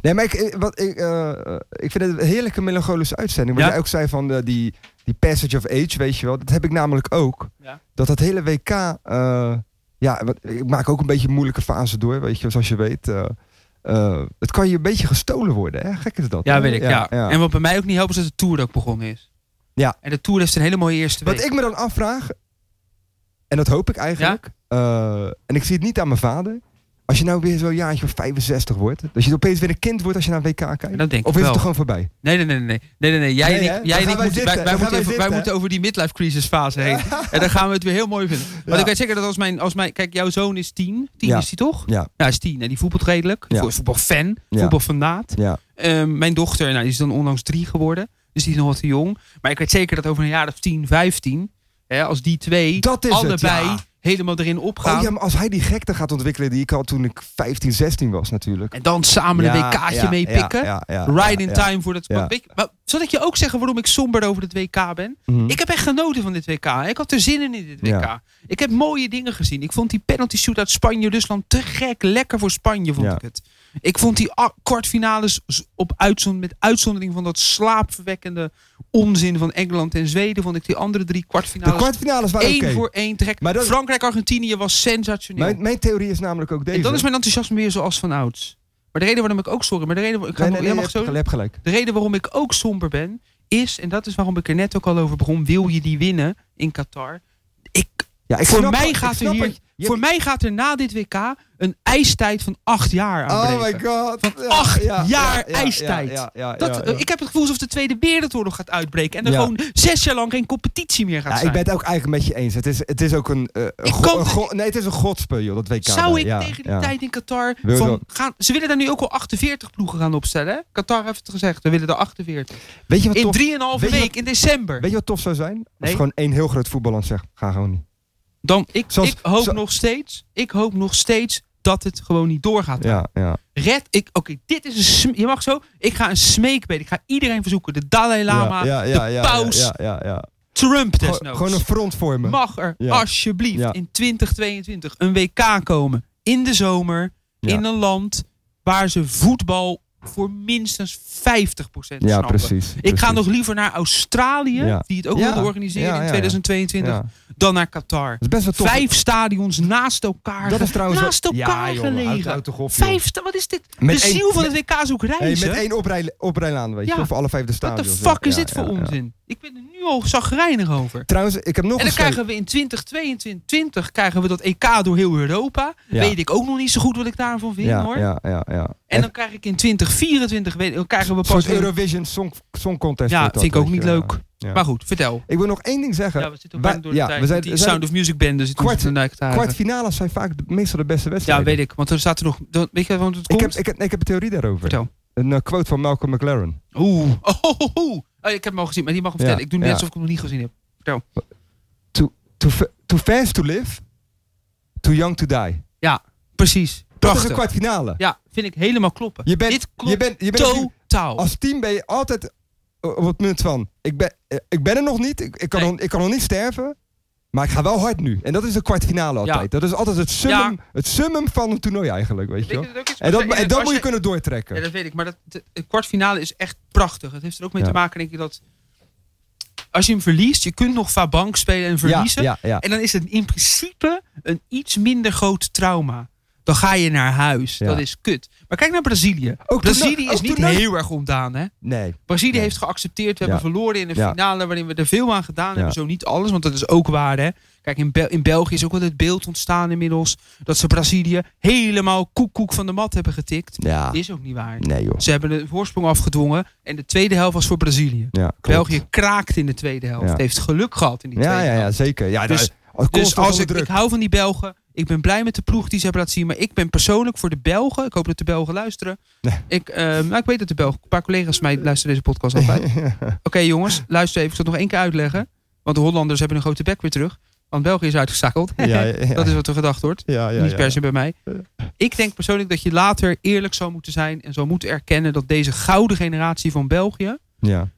[SPEAKER 2] Nee, maar ik, ik- wat, ik, eh, eh, ik vind het een heerlijke melancholische uitzending. Wat
[SPEAKER 1] Ja.
[SPEAKER 2] jij ook zei van eh, die, die passage of age, weet je wel. Dat heb ik namelijk ook.
[SPEAKER 1] Ja.
[SPEAKER 2] Dat dat hele WK... eh, ja, wat, ik maak ook een beetje een moeilijke fase door, weet je. Zoals je weet. eh, eh, het kan je een beetje gestolen worden, hè. Gek is dat.
[SPEAKER 1] ja,
[SPEAKER 2] hè?
[SPEAKER 1] weet ik. Ja,
[SPEAKER 2] ja.
[SPEAKER 1] En wat bij mij ook niet helpt is dat de Tour ook begonnen is.
[SPEAKER 2] Ja.
[SPEAKER 1] En de Tour heeft een hele mooie eerste
[SPEAKER 2] Wat
[SPEAKER 1] week.
[SPEAKER 2] ik me dan afvraag, en dat hoop ik eigenlijk, eh, en ik zie het niet aan mijn vader. Als je nou weer zo'n jaartje of 65 wordt, dat je opeens weer een kind wordt als je naar een WK kijkt.
[SPEAKER 1] dat denk
[SPEAKER 2] of
[SPEAKER 1] ik
[SPEAKER 2] is
[SPEAKER 1] wel.
[SPEAKER 2] het er gewoon voorbij?
[SPEAKER 1] Nee, nee, nee, nee. nee, nee, nee. Jij
[SPEAKER 2] Nee,
[SPEAKER 1] en
[SPEAKER 2] hè?
[SPEAKER 1] ik, jij en
[SPEAKER 2] Dan
[SPEAKER 1] ik
[SPEAKER 2] gaan wij
[SPEAKER 1] moeten, wij, wij,
[SPEAKER 2] zitten. Dan
[SPEAKER 1] moeten,
[SPEAKER 2] gaan wij
[SPEAKER 1] even, wij
[SPEAKER 2] zitten.
[SPEAKER 1] moeten over die midlife crisis fase heen. En dan gaan we het weer heel mooi vinden. Want
[SPEAKER 2] Ja.
[SPEAKER 1] ik weet zeker dat als mijn, als mijn... Kijk, jouw zoon is tien. Tien
[SPEAKER 2] Ja.
[SPEAKER 1] is hij toch?
[SPEAKER 2] Ja.
[SPEAKER 1] Ja, is tien. En die voetbalt redelijk.
[SPEAKER 2] Ja.
[SPEAKER 1] Vo- Voetbalfan.
[SPEAKER 2] Ja.
[SPEAKER 1] Voetbalfanaat.
[SPEAKER 2] Ja.
[SPEAKER 1] Ehm, mijn dochter, nou, die is dan onlangs drie geworden. Dus die is nog wat te jong. Maar ik weet zeker dat over een jaar of tien, vijftien... Hè, als die twee
[SPEAKER 2] Dat is het,
[SPEAKER 1] allebei
[SPEAKER 2] ja.
[SPEAKER 1] helemaal erin opgaan...
[SPEAKER 2] Oh ja, maar als hij die gekte gaat ontwikkelen die ik had toen ik 15, 16 was natuurlijk.
[SPEAKER 1] En dan samen een WK'tje meepikken.
[SPEAKER 2] ja, ja,
[SPEAKER 1] Ride in
[SPEAKER 2] ja.
[SPEAKER 1] time voor dat...
[SPEAKER 2] Ja.
[SPEAKER 1] Weet je, maar Zal ik je ook zeggen waarom ik somber over het WK ben?
[SPEAKER 2] Mhm.
[SPEAKER 1] Ik heb echt genoten van dit WK. Ik had er zin in in dit WK.
[SPEAKER 2] Ja.
[SPEAKER 1] Ik heb mooie dingen gezien. Ik vond die penalty shoot uit Spanje-Rusland te gek. Lekker voor Spanje vond
[SPEAKER 2] Ja.
[SPEAKER 1] ik het. Ik vond die a- kwartfinales s- op uitzon met uitzondering van dat slaapverwekkende onzin van Engeland en Zweden. Vond ik die andere drie
[SPEAKER 2] de
[SPEAKER 1] kwartfinales
[SPEAKER 2] kwartfinales waren
[SPEAKER 1] nou één
[SPEAKER 2] oké.
[SPEAKER 1] voor één trek.
[SPEAKER 2] Maar dat-
[SPEAKER 1] Frankrijk-Argentinië was sensationeel.
[SPEAKER 2] Mijn, mijn theorie is namelijk ook deze.
[SPEAKER 1] en dan is mijn enthousiasme weer zoals van ouds. Maar de reden waarom ik ook sorry, maar de reden waarom ik ga,
[SPEAKER 2] Nee, nee,
[SPEAKER 1] jij
[SPEAKER 2] nee,
[SPEAKER 1] mag
[SPEAKER 2] je
[SPEAKER 1] zo
[SPEAKER 2] hebt gelijk, je hebt gelijk.
[SPEAKER 1] de reden waarom ik ook somber ben, is, en dat is waarom ik er net ook al over begon, wil je die winnen in Qatar? Ik,
[SPEAKER 2] Ja, ik
[SPEAKER 1] voor
[SPEAKER 2] snap
[SPEAKER 1] mij
[SPEAKER 2] wat- ik
[SPEAKER 1] gaat er
[SPEAKER 2] snap
[SPEAKER 1] hier,
[SPEAKER 2] wat je-
[SPEAKER 1] voor mij gaat er na dit WK een ijstijd van acht jaar aanbreken.
[SPEAKER 2] Oh my god.
[SPEAKER 1] Van
[SPEAKER 2] Ja,
[SPEAKER 1] acht jaar ijstijd.
[SPEAKER 2] ja, ja,
[SPEAKER 1] Dat,
[SPEAKER 2] ja, ja.
[SPEAKER 1] eh, Ik heb het gevoel alsof de Tweede Wereldoorlog gaat uitbreken. En er
[SPEAKER 2] Ja.
[SPEAKER 1] gewoon zes jaar lang geen competitie meer gaat
[SPEAKER 2] Ja, ik
[SPEAKER 1] zijn.
[SPEAKER 2] ben het ook eigenlijk met je eens. Het is, het is ook een. eh, een
[SPEAKER 1] Ik
[SPEAKER 2] go-
[SPEAKER 1] kan-
[SPEAKER 2] een go- nee, het is een godspeel, joh, dat WK.
[SPEAKER 1] Zou
[SPEAKER 2] daar.
[SPEAKER 1] ik
[SPEAKER 2] Ja,
[SPEAKER 1] tegen die
[SPEAKER 2] ja.
[SPEAKER 1] tijd in Qatar...
[SPEAKER 2] Wil je
[SPEAKER 1] Van,
[SPEAKER 2] dan-
[SPEAKER 1] gaan, ze willen daar nu ook al 48 ploegen gaan opstellen. hè? Qatar heeft het gezegd, we willen er 48.
[SPEAKER 2] Weet je wat
[SPEAKER 1] In
[SPEAKER 2] tof,
[SPEAKER 1] 3,5
[SPEAKER 2] Weet je
[SPEAKER 1] week, in december.
[SPEAKER 2] weet je wat tof zou zijn? Als
[SPEAKER 1] Nee.
[SPEAKER 2] gewoon één heel groot voetballand zegt: ga gewoon niet.
[SPEAKER 1] Dan, ik,
[SPEAKER 2] Zoals-
[SPEAKER 1] ik hoop
[SPEAKER 2] zo-
[SPEAKER 1] nog steeds, ik hoop nog steeds dat het gewoon niet doorgaat.
[SPEAKER 2] Ja, ja.
[SPEAKER 1] Red, ik, oké, dit is een, sm- je mag zo, ik ga een smeekbede, ik ga iedereen verzoeken. De Dalai Lama,
[SPEAKER 2] ja, ja,
[SPEAKER 1] de
[SPEAKER 2] ja,
[SPEAKER 1] paus,
[SPEAKER 2] Ja, ja, ja, ja.
[SPEAKER 1] Trump
[SPEAKER 2] Gewoon-
[SPEAKER 1] desnoods.
[SPEAKER 2] gewoon een front vormen.
[SPEAKER 1] mag er
[SPEAKER 2] Ja.
[SPEAKER 1] alsjeblieft
[SPEAKER 2] Ja.
[SPEAKER 1] in 2022 een WK komen in de zomer
[SPEAKER 2] Ja.
[SPEAKER 1] in een land waar ze voetbal voor minstens 50% snappen.
[SPEAKER 2] ja, precies.
[SPEAKER 1] Ik ga nog liever naar Australië,
[SPEAKER 2] Ja.
[SPEAKER 1] die het ook
[SPEAKER 2] Ja.
[SPEAKER 1] wilde organiseren
[SPEAKER 2] Ja, ja,
[SPEAKER 1] in
[SPEAKER 2] ja.
[SPEAKER 1] 2022,
[SPEAKER 2] Ja. Dat
[SPEAKER 1] dan naar Qatar.
[SPEAKER 2] is best wel tof.
[SPEAKER 1] Vijf stadions naast elkaar.
[SPEAKER 2] dat is trouwens
[SPEAKER 1] naast
[SPEAKER 2] wel-
[SPEAKER 1] elkaar
[SPEAKER 2] ja, joh,
[SPEAKER 1] gelegen.
[SPEAKER 2] houd- houd toch op, joh.
[SPEAKER 1] Vijf sta- wat is dit?
[SPEAKER 2] Met
[SPEAKER 1] de
[SPEAKER 2] één-
[SPEAKER 1] ziel van
[SPEAKER 2] met-
[SPEAKER 1] het WK zoek
[SPEAKER 2] Hey,
[SPEAKER 1] reizen.
[SPEAKER 2] met één oprij- oprijlaan, weet je,
[SPEAKER 1] Ja.
[SPEAKER 2] toch, voor alle vijf de
[SPEAKER 1] Wat
[SPEAKER 2] stadions.
[SPEAKER 1] de fuck
[SPEAKER 2] Ja,
[SPEAKER 1] is
[SPEAKER 2] ja,
[SPEAKER 1] dit voor
[SPEAKER 2] ja, ja.
[SPEAKER 1] onzin? Ik ben er nu al zagrijnig over.
[SPEAKER 2] Trouwens, ik heb nog
[SPEAKER 1] En
[SPEAKER 2] een
[SPEAKER 1] dan
[SPEAKER 2] stel-
[SPEAKER 1] krijgen we in 2022 krijgen we dat EK door heel Europa.
[SPEAKER 2] Ja.
[SPEAKER 1] Weet ik ook nog niet zo goed wat ik daarvan vind
[SPEAKER 2] ja,
[SPEAKER 1] hoor.
[SPEAKER 2] ja, ja, ja.
[SPEAKER 1] En dan krijg ik in 2024 weet, dan krijgen we
[SPEAKER 2] een soort
[SPEAKER 1] pas weer-
[SPEAKER 2] Eurovision Song, song Contest.
[SPEAKER 1] Ja,
[SPEAKER 2] wordt dat,
[SPEAKER 1] vind ik ook
[SPEAKER 2] weet
[SPEAKER 1] niet
[SPEAKER 2] je, ja.
[SPEAKER 1] leuk.
[SPEAKER 2] Ja.
[SPEAKER 1] Maar goed, vertel.
[SPEAKER 2] Ik wil nog één ding zeggen.
[SPEAKER 1] Ja, we zitten ook
[SPEAKER 2] Wij-
[SPEAKER 1] lang door de
[SPEAKER 2] ja,
[SPEAKER 1] tijd.
[SPEAKER 2] we zijn-
[SPEAKER 1] met die
[SPEAKER 2] we zijn-
[SPEAKER 1] Sound of Music band, dus ik
[SPEAKER 2] Kwart-
[SPEAKER 1] kwart,
[SPEAKER 2] Kwartfinales zijn vaak de- meestal de beste
[SPEAKER 1] Ja,
[SPEAKER 2] wedstrijden.
[SPEAKER 1] weet ik. Want dan staat er nog. dan- weet je, want het
[SPEAKER 2] ik,
[SPEAKER 1] komt.
[SPEAKER 2] heb, ik, heb, ik heb een theorie daarover.
[SPEAKER 1] Vertel.
[SPEAKER 2] Een eh, quote van Malcolm McLaren.
[SPEAKER 1] Oeh. Oh, ho, ho, ho. Oh, ik heb hem al gezien, maar die mag hem
[SPEAKER 2] Ja,
[SPEAKER 1] vertellen. Ik doe net
[SPEAKER 2] ja.
[SPEAKER 1] alsof ik hem nog niet gezien heb.
[SPEAKER 2] Too, fa- too fast to live, too young to die.
[SPEAKER 1] Precies.
[SPEAKER 2] Dat
[SPEAKER 1] Prachtig.
[SPEAKER 2] is een kwartfinale.
[SPEAKER 1] Ja, vind ik helemaal kloppen.
[SPEAKER 2] Je bent,
[SPEAKER 1] Dit klopt
[SPEAKER 2] je bent, je bent Oh, natuurlijk-
[SPEAKER 1] totaal.
[SPEAKER 2] als team ben je altijd o- op het punt van, ik ben, eh, ik ben er nog niet, ik, ik, kan
[SPEAKER 1] Nee.
[SPEAKER 2] nog, ik kan nog niet sterven, maar ik ga wel hard nu. En dat is de kwartfinale
[SPEAKER 1] Ja.
[SPEAKER 2] altijd. Dat is altijd het summum, het summum van een toernooi eigenlijk, weet je
[SPEAKER 1] Weet
[SPEAKER 2] wel.
[SPEAKER 1] je dat ook is?
[SPEAKER 2] En dat, en
[SPEAKER 1] als
[SPEAKER 2] dat moet je
[SPEAKER 1] je-
[SPEAKER 2] kunnen doortrekken.
[SPEAKER 1] Ja, dat weet ik. Maar dat, de, de kwartfinale is echt prachtig. Het heeft er ook mee
[SPEAKER 2] Ja.
[SPEAKER 1] te maken, denk ik, dat... Als je hem verliest, je kunt nog Fabank spelen en verliezen.
[SPEAKER 2] Ja, ja, ja.
[SPEAKER 1] En dan is het in principe een iets minder groot trauma. Dan ga je naar huis.
[SPEAKER 2] Ja.
[SPEAKER 1] Dat is kut. Maar kijk naar Brazilië.
[SPEAKER 2] Ook
[SPEAKER 1] Brazilië
[SPEAKER 2] toernooi-
[SPEAKER 1] is
[SPEAKER 2] ook
[SPEAKER 1] niet
[SPEAKER 2] toernooi-
[SPEAKER 1] heel erg ontdaan, hè?
[SPEAKER 2] Nee.
[SPEAKER 1] Brazilië
[SPEAKER 2] Nee.
[SPEAKER 1] heeft geaccepteerd. We
[SPEAKER 2] Ja.
[SPEAKER 1] hebben verloren in de
[SPEAKER 2] Ja.
[SPEAKER 1] finale waarin we er veel aan gedaan hebben.
[SPEAKER 2] Ja.
[SPEAKER 1] Zo niet alles, want dat is ook waar. Hè? Kijk, in, Bel- in België is ook wel het beeld ontstaan inmiddels. Dat ze Brazilië helemaal koekoek van de mat hebben getikt.
[SPEAKER 2] Ja.
[SPEAKER 1] Dat is ook niet waar.
[SPEAKER 2] Nee joh.
[SPEAKER 1] Ze hebben de voorsprong afgedwongen. En de tweede helft was voor Brazilië.
[SPEAKER 2] Ja, klopt.
[SPEAKER 1] België kraakt in de tweede helft.
[SPEAKER 2] Ja.
[SPEAKER 1] Heeft geluk gehad in die
[SPEAKER 2] Ja,
[SPEAKER 1] tweede
[SPEAKER 2] ja, ja,
[SPEAKER 1] helft.
[SPEAKER 2] zeker. Ja,
[SPEAKER 1] Dus-
[SPEAKER 2] dus, als,
[SPEAKER 1] Dus als ik,
[SPEAKER 2] druk.
[SPEAKER 1] ik hou van die Belgen. Ik ben blij met de ploeg die ze hebben laten zien. Maar ik ben persoonlijk voor de Belgen. Ik hoop dat de Belgen luisteren.
[SPEAKER 2] Nee.
[SPEAKER 1] Ik, eh, nou, ik weet dat de Belgen. Een paar collega's van mij luisteren deze podcast altijd. Oké jongens, luister even. Ik zal het nog één keer uitleggen. Want de Hollanders hebben een grote bek weer terug. Want België is uitgeschakeld.
[SPEAKER 2] ja, ja, ja.
[SPEAKER 1] Dat is wat er gedacht wordt.
[SPEAKER 2] ja, ja,
[SPEAKER 1] Niet
[SPEAKER 2] ja.
[SPEAKER 1] per se bij mij.
[SPEAKER 2] Ja.
[SPEAKER 1] Ik denk persoonlijk dat je later eerlijk zou moeten zijn. En zou moeten erkennen dat deze gouden generatie van België.
[SPEAKER 2] Ja.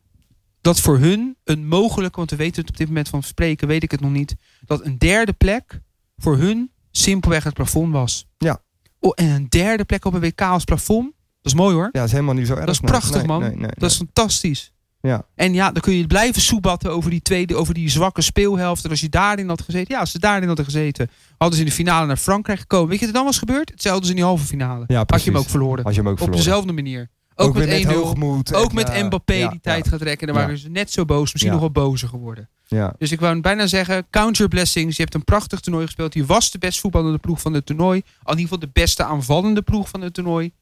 [SPEAKER 1] Dat voor hun een mogelijke, want we weten het op dit moment van spreken, weet ik het nog niet. Dat een derde plek voor hun simpelweg het plafond was.
[SPEAKER 2] Ja.
[SPEAKER 1] Oh, en een derde plek op een WK als plafond. Dat is mooi hoor.
[SPEAKER 2] ja, dat is helemaal niet zo erg.
[SPEAKER 1] is
[SPEAKER 2] nee.
[SPEAKER 1] prachtig,
[SPEAKER 2] Nee,
[SPEAKER 1] man.
[SPEAKER 2] nee, nee,
[SPEAKER 1] Dat is fantastisch.
[SPEAKER 2] Ja.
[SPEAKER 1] En ja, dan kun je blijven soebatten over die tweede, over die zwakke speelhelft. En als je daarin had gezeten, ja, als ze daarin hadden gezeten, hadden ze in de finale naar Frankrijk gekomen. Weet je wat er dan was gebeurd? Hetzelfde als in die halve finale.
[SPEAKER 2] nee. ja,
[SPEAKER 1] had je hem
[SPEAKER 2] precies.
[SPEAKER 1] ook verloren.
[SPEAKER 2] Had je hem ook
[SPEAKER 1] Op
[SPEAKER 2] verloren.
[SPEAKER 1] dezelfde manier. Ook,
[SPEAKER 2] weer
[SPEAKER 1] met 1-0.
[SPEAKER 2] hoogmoed.
[SPEAKER 1] Ook
[SPEAKER 2] en,
[SPEAKER 1] met
[SPEAKER 2] eh,
[SPEAKER 1] Mbappé
[SPEAKER 2] ja,
[SPEAKER 1] die tijd gaat rekken. En dan
[SPEAKER 2] Ja.
[SPEAKER 1] waren ze net zo boos, misschien nog
[SPEAKER 2] Ja.
[SPEAKER 1] wel bozer geworden.
[SPEAKER 2] Ja, ja.
[SPEAKER 1] Dus ik wou bijna zeggen, count your blessings. Je hebt een prachtig toernooi gespeeld. Je was de best voetballende ploeg van het toernooi. Al in ieder geval de beste aanvallende ploeg van het toernooi.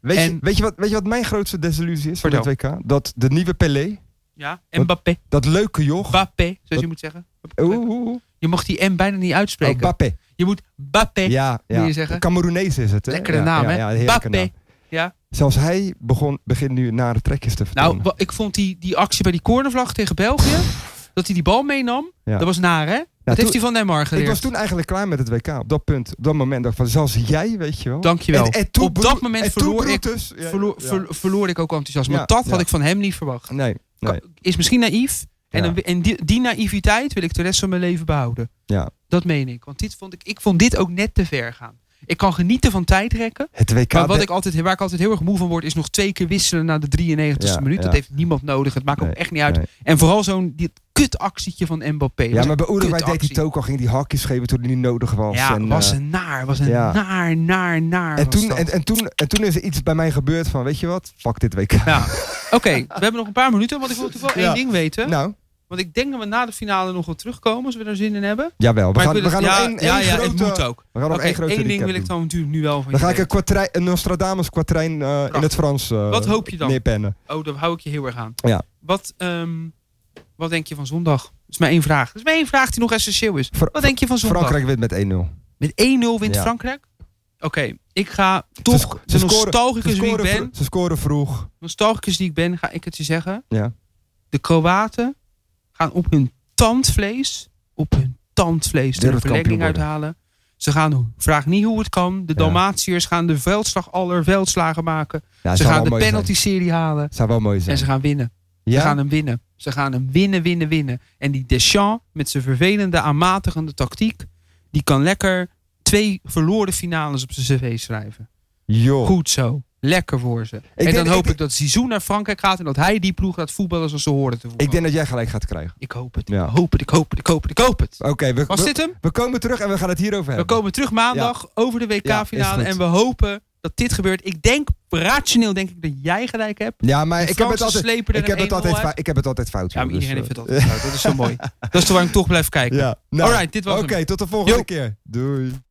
[SPEAKER 2] Weet, je,
[SPEAKER 1] En-
[SPEAKER 2] weet, je wat, weet je wat mijn grootste desillusie is van het
[SPEAKER 1] Vertel.
[SPEAKER 2] WK? Dat de nieuwe Pelé,
[SPEAKER 1] Ja,
[SPEAKER 2] Wat-
[SPEAKER 1] Mbappé.
[SPEAKER 2] dat leuke joch...
[SPEAKER 1] Mbappé, zoals
[SPEAKER 2] Wat-
[SPEAKER 1] je moet zeggen.
[SPEAKER 2] Oeh, oeh, oeh.
[SPEAKER 1] Je mag die M bijna niet
[SPEAKER 2] Oh,
[SPEAKER 1] uitspreken.
[SPEAKER 2] Bappé.
[SPEAKER 1] je moet Bappé.
[SPEAKER 2] Ja,
[SPEAKER 1] wil je
[SPEAKER 2] ja.
[SPEAKER 1] zeggen?
[SPEAKER 2] Cameroenees is het, hè?
[SPEAKER 1] Lekkere
[SPEAKER 2] Ja,
[SPEAKER 1] naam,
[SPEAKER 2] ja,
[SPEAKER 1] hè?
[SPEAKER 2] Ja, heerlijke
[SPEAKER 1] Mbappé.
[SPEAKER 2] naam.
[SPEAKER 1] Ja.
[SPEAKER 2] Zelfs hij begon, begint nu nare trekjes te vertellen.
[SPEAKER 1] Nou, wa- ik vond die, die actie bij die cornervlag tegen België. dat hij die bal meenam.
[SPEAKER 2] Ja.
[SPEAKER 1] Dat was naar, hè? dat heeft hij van Neymar
[SPEAKER 2] ik
[SPEAKER 1] geleerd.
[SPEAKER 2] was toen eigenlijk klaar met het WK. Op dat punt, op dat moment dacht ik van, zelfs jij, weet je wel.
[SPEAKER 1] Dankjewel.
[SPEAKER 2] En- en toen
[SPEAKER 1] Op
[SPEAKER 2] Bro-
[SPEAKER 1] dat moment
[SPEAKER 2] en toen
[SPEAKER 1] verloor ik,
[SPEAKER 2] Brutus. Ja,
[SPEAKER 1] verloor,
[SPEAKER 2] ja.
[SPEAKER 1] ver- verloor ik ook enthousiasme.
[SPEAKER 2] Ja,
[SPEAKER 1] Want dat
[SPEAKER 2] ja.
[SPEAKER 1] had ik van hem niet verwacht.
[SPEAKER 2] Nee, Nee.
[SPEAKER 1] Is misschien naïef. En,
[SPEAKER 2] Ja.
[SPEAKER 1] dan wi- en die, die naïviteit wil ik de rest van mijn leven behouden.
[SPEAKER 2] Ja.
[SPEAKER 1] Dat meen ik. Want dit vond ik, ik vond dit ook net te ver gaan. Ik kan genieten van tijdrekken.
[SPEAKER 2] Het WK.
[SPEAKER 1] Maar wat
[SPEAKER 2] de-
[SPEAKER 1] ik altijd, waar ik altijd heel erg moe van word, is nog twee keer wisselen na de 93 e
[SPEAKER 2] Ja,
[SPEAKER 1] minuut. Dat
[SPEAKER 2] ja.
[SPEAKER 1] heeft niemand nodig. Het maakt
[SPEAKER 2] Nee,
[SPEAKER 1] ook echt niet uit.
[SPEAKER 2] nee.
[SPEAKER 1] En vooral zo'n dit kutactietje van Mbappé.
[SPEAKER 2] Ja, maar bij Uruguay deed hij
[SPEAKER 1] kutactie.
[SPEAKER 2] het ook al. Ging die hakjes geven toen hij niet nodig was.
[SPEAKER 1] ja,
[SPEAKER 2] en,
[SPEAKER 1] was
[SPEAKER 2] eh,
[SPEAKER 1] een naar. Was een
[SPEAKER 2] ja.
[SPEAKER 1] naar, naar, naar.
[SPEAKER 2] en,
[SPEAKER 1] was
[SPEAKER 2] toen,
[SPEAKER 1] dat.
[SPEAKER 2] en, en, toen, en toen is er iets bij mij gebeurd van, weet je wat? Fuck dit WK.
[SPEAKER 1] Ja. Oké, we hebben nog een paar minuten, want ik wil natuurlijk wel
[SPEAKER 2] Ja.
[SPEAKER 1] één ding weten.
[SPEAKER 2] Nou,
[SPEAKER 1] Want ik denk dat we na de finale nog wel terugkomen, als we er zin in hebben.
[SPEAKER 2] jawel. We
[SPEAKER 1] Maar
[SPEAKER 2] gaan,
[SPEAKER 1] ik
[SPEAKER 2] we
[SPEAKER 1] wil
[SPEAKER 2] gaan
[SPEAKER 1] het- ja,
[SPEAKER 2] nog één,
[SPEAKER 1] ja,
[SPEAKER 2] één
[SPEAKER 1] ja,
[SPEAKER 2] grote...
[SPEAKER 1] het moet ook.
[SPEAKER 2] We gaan nog
[SPEAKER 1] Oké,
[SPEAKER 2] één grote
[SPEAKER 1] één ding
[SPEAKER 2] recap
[SPEAKER 1] wil ik
[SPEAKER 2] doen.
[SPEAKER 1] dan natuurlijk nu wel van
[SPEAKER 2] Dan
[SPEAKER 1] je
[SPEAKER 2] ga ik een,
[SPEAKER 1] weten.
[SPEAKER 2] kwatrijn, een Nostradamus kwatrijn eh, in het Frans eh,
[SPEAKER 1] Wat hoop je dan?
[SPEAKER 2] neerpennen.
[SPEAKER 1] Oh, daar hou ik je heel erg aan.
[SPEAKER 2] Ja.
[SPEAKER 1] Wat, ehm, wat denk je van zondag? Dat is maar één vraag. Dat is maar één vraag die nog essentieel is.
[SPEAKER 2] Fra-
[SPEAKER 1] Wat denk je van zondag?
[SPEAKER 2] Frankrijk wint met 1-0.
[SPEAKER 1] Met 1-0 wint
[SPEAKER 2] Ja.
[SPEAKER 1] Frankrijk? Oké, ik ga
[SPEAKER 2] Ze
[SPEAKER 1] toch,
[SPEAKER 2] sco-
[SPEAKER 1] de
[SPEAKER 2] ze scoren- Ze
[SPEAKER 1] nostalgicus die ik
[SPEAKER 2] scoren,
[SPEAKER 1] ben,
[SPEAKER 2] vro- ze scoren vroeg.
[SPEAKER 1] nostalgicus die ik ben, ga ik het je zeggen.
[SPEAKER 2] Ja.
[SPEAKER 1] De Kroaten gaan op hun tandvlees, op hun tandvlees de
[SPEAKER 2] Wereldkampioen
[SPEAKER 1] verlenging
[SPEAKER 2] worden.
[SPEAKER 1] uithalen. Ze gaan, vraag niet hoe het kan, de
[SPEAKER 2] Ja.
[SPEAKER 1] Dalmatiërs gaan de veldslag aller veldslagen maken.
[SPEAKER 2] Ja,
[SPEAKER 1] ze
[SPEAKER 2] zou wel
[SPEAKER 1] gaan de
[SPEAKER 2] mooi zijn.
[SPEAKER 1] penalty serie halen
[SPEAKER 2] Zou wel mooi zijn.
[SPEAKER 1] en ze gaan winnen.
[SPEAKER 2] ja?
[SPEAKER 1] Ze gaan hem winnen. Ze gaan hem winnen, winnen, winnen. En die Deschamps met zijn vervelende, aanmatigende tactiek, die kan lekker twee verloren finales op zijn cv schrijven.
[SPEAKER 2] Joh.
[SPEAKER 1] Goed zo. Lekker voor ze. en
[SPEAKER 2] denk-
[SPEAKER 1] dan
[SPEAKER 2] Oh. ik-
[SPEAKER 1] hoop ik, dat Zizou naar Frankrijk gaat en dat hij die ploeg gaat voetballen zoals ze horen te voetballen.
[SPEAKER 2] Ik denk dat jij gelijk gaat krijgen.
[SPEAKER 1] Ik hoop het.
[SPEAKER 2] Ja.
[SPEAKER 1] Ik hoop het. Ik hoop het. Ik hoop het. Ik hoop het.
[SPEAKER 2] Oké, we,
[SPEAKER 1] Was
[SPEAKER 2] we,
[SPEAKER 1] dit hem?
[SPEAKER 2] we komen terug en we gaan het hierover
[SPEAKER 1] We
[SPEAKER 2] hebben.
[SPEAKER 1] komen terug maandag over de
[SPEAKER 2] Ja, is
[SPEAKER 1] WK-finale.
[SPEAKER 2] goed.
[SPEAKER 1] en we hopen dat dit gebeurt. Ik denk, rationeel denk ik dat jij gelijk hebt.
[SPEAKER 2] Ja, maar
[SPEAKER 1] De
[SPEAKER 2] ik heb, het
[SPEAKER 1] Fransen
[SPEAKER 2] altijd,
[SPEAKER 1] slepen er
[SPEAKER 2] ik, heb
[SPEAKER 1] een
[SPEAKER 2] het altijd
[SPEAKER 1] 1-0 uit.
[SPEAKER 2] fou- ik heb het altijd fout.
[SPEAKER 1] Ja, maar
[SPEAKER 2] joh, dus,
[SPEAKER 1] iedereen heeft het
[SPEAKER 2] eh,
[SPEAKER 1] altijd fout. Dat is zo mooi. Dat is toch waarom ik toch blijf kijken.
[SPEAKER 2] Ja, nou,
[SPEAKER 1] Alright, dit was
[SPEAKER 2] Oké,
[SPEAKER 1] hem.
[SPEAKER 2] tot de volgende
[SPEAKER 1] Yo.
[SPEAKER 2] keer. Doei.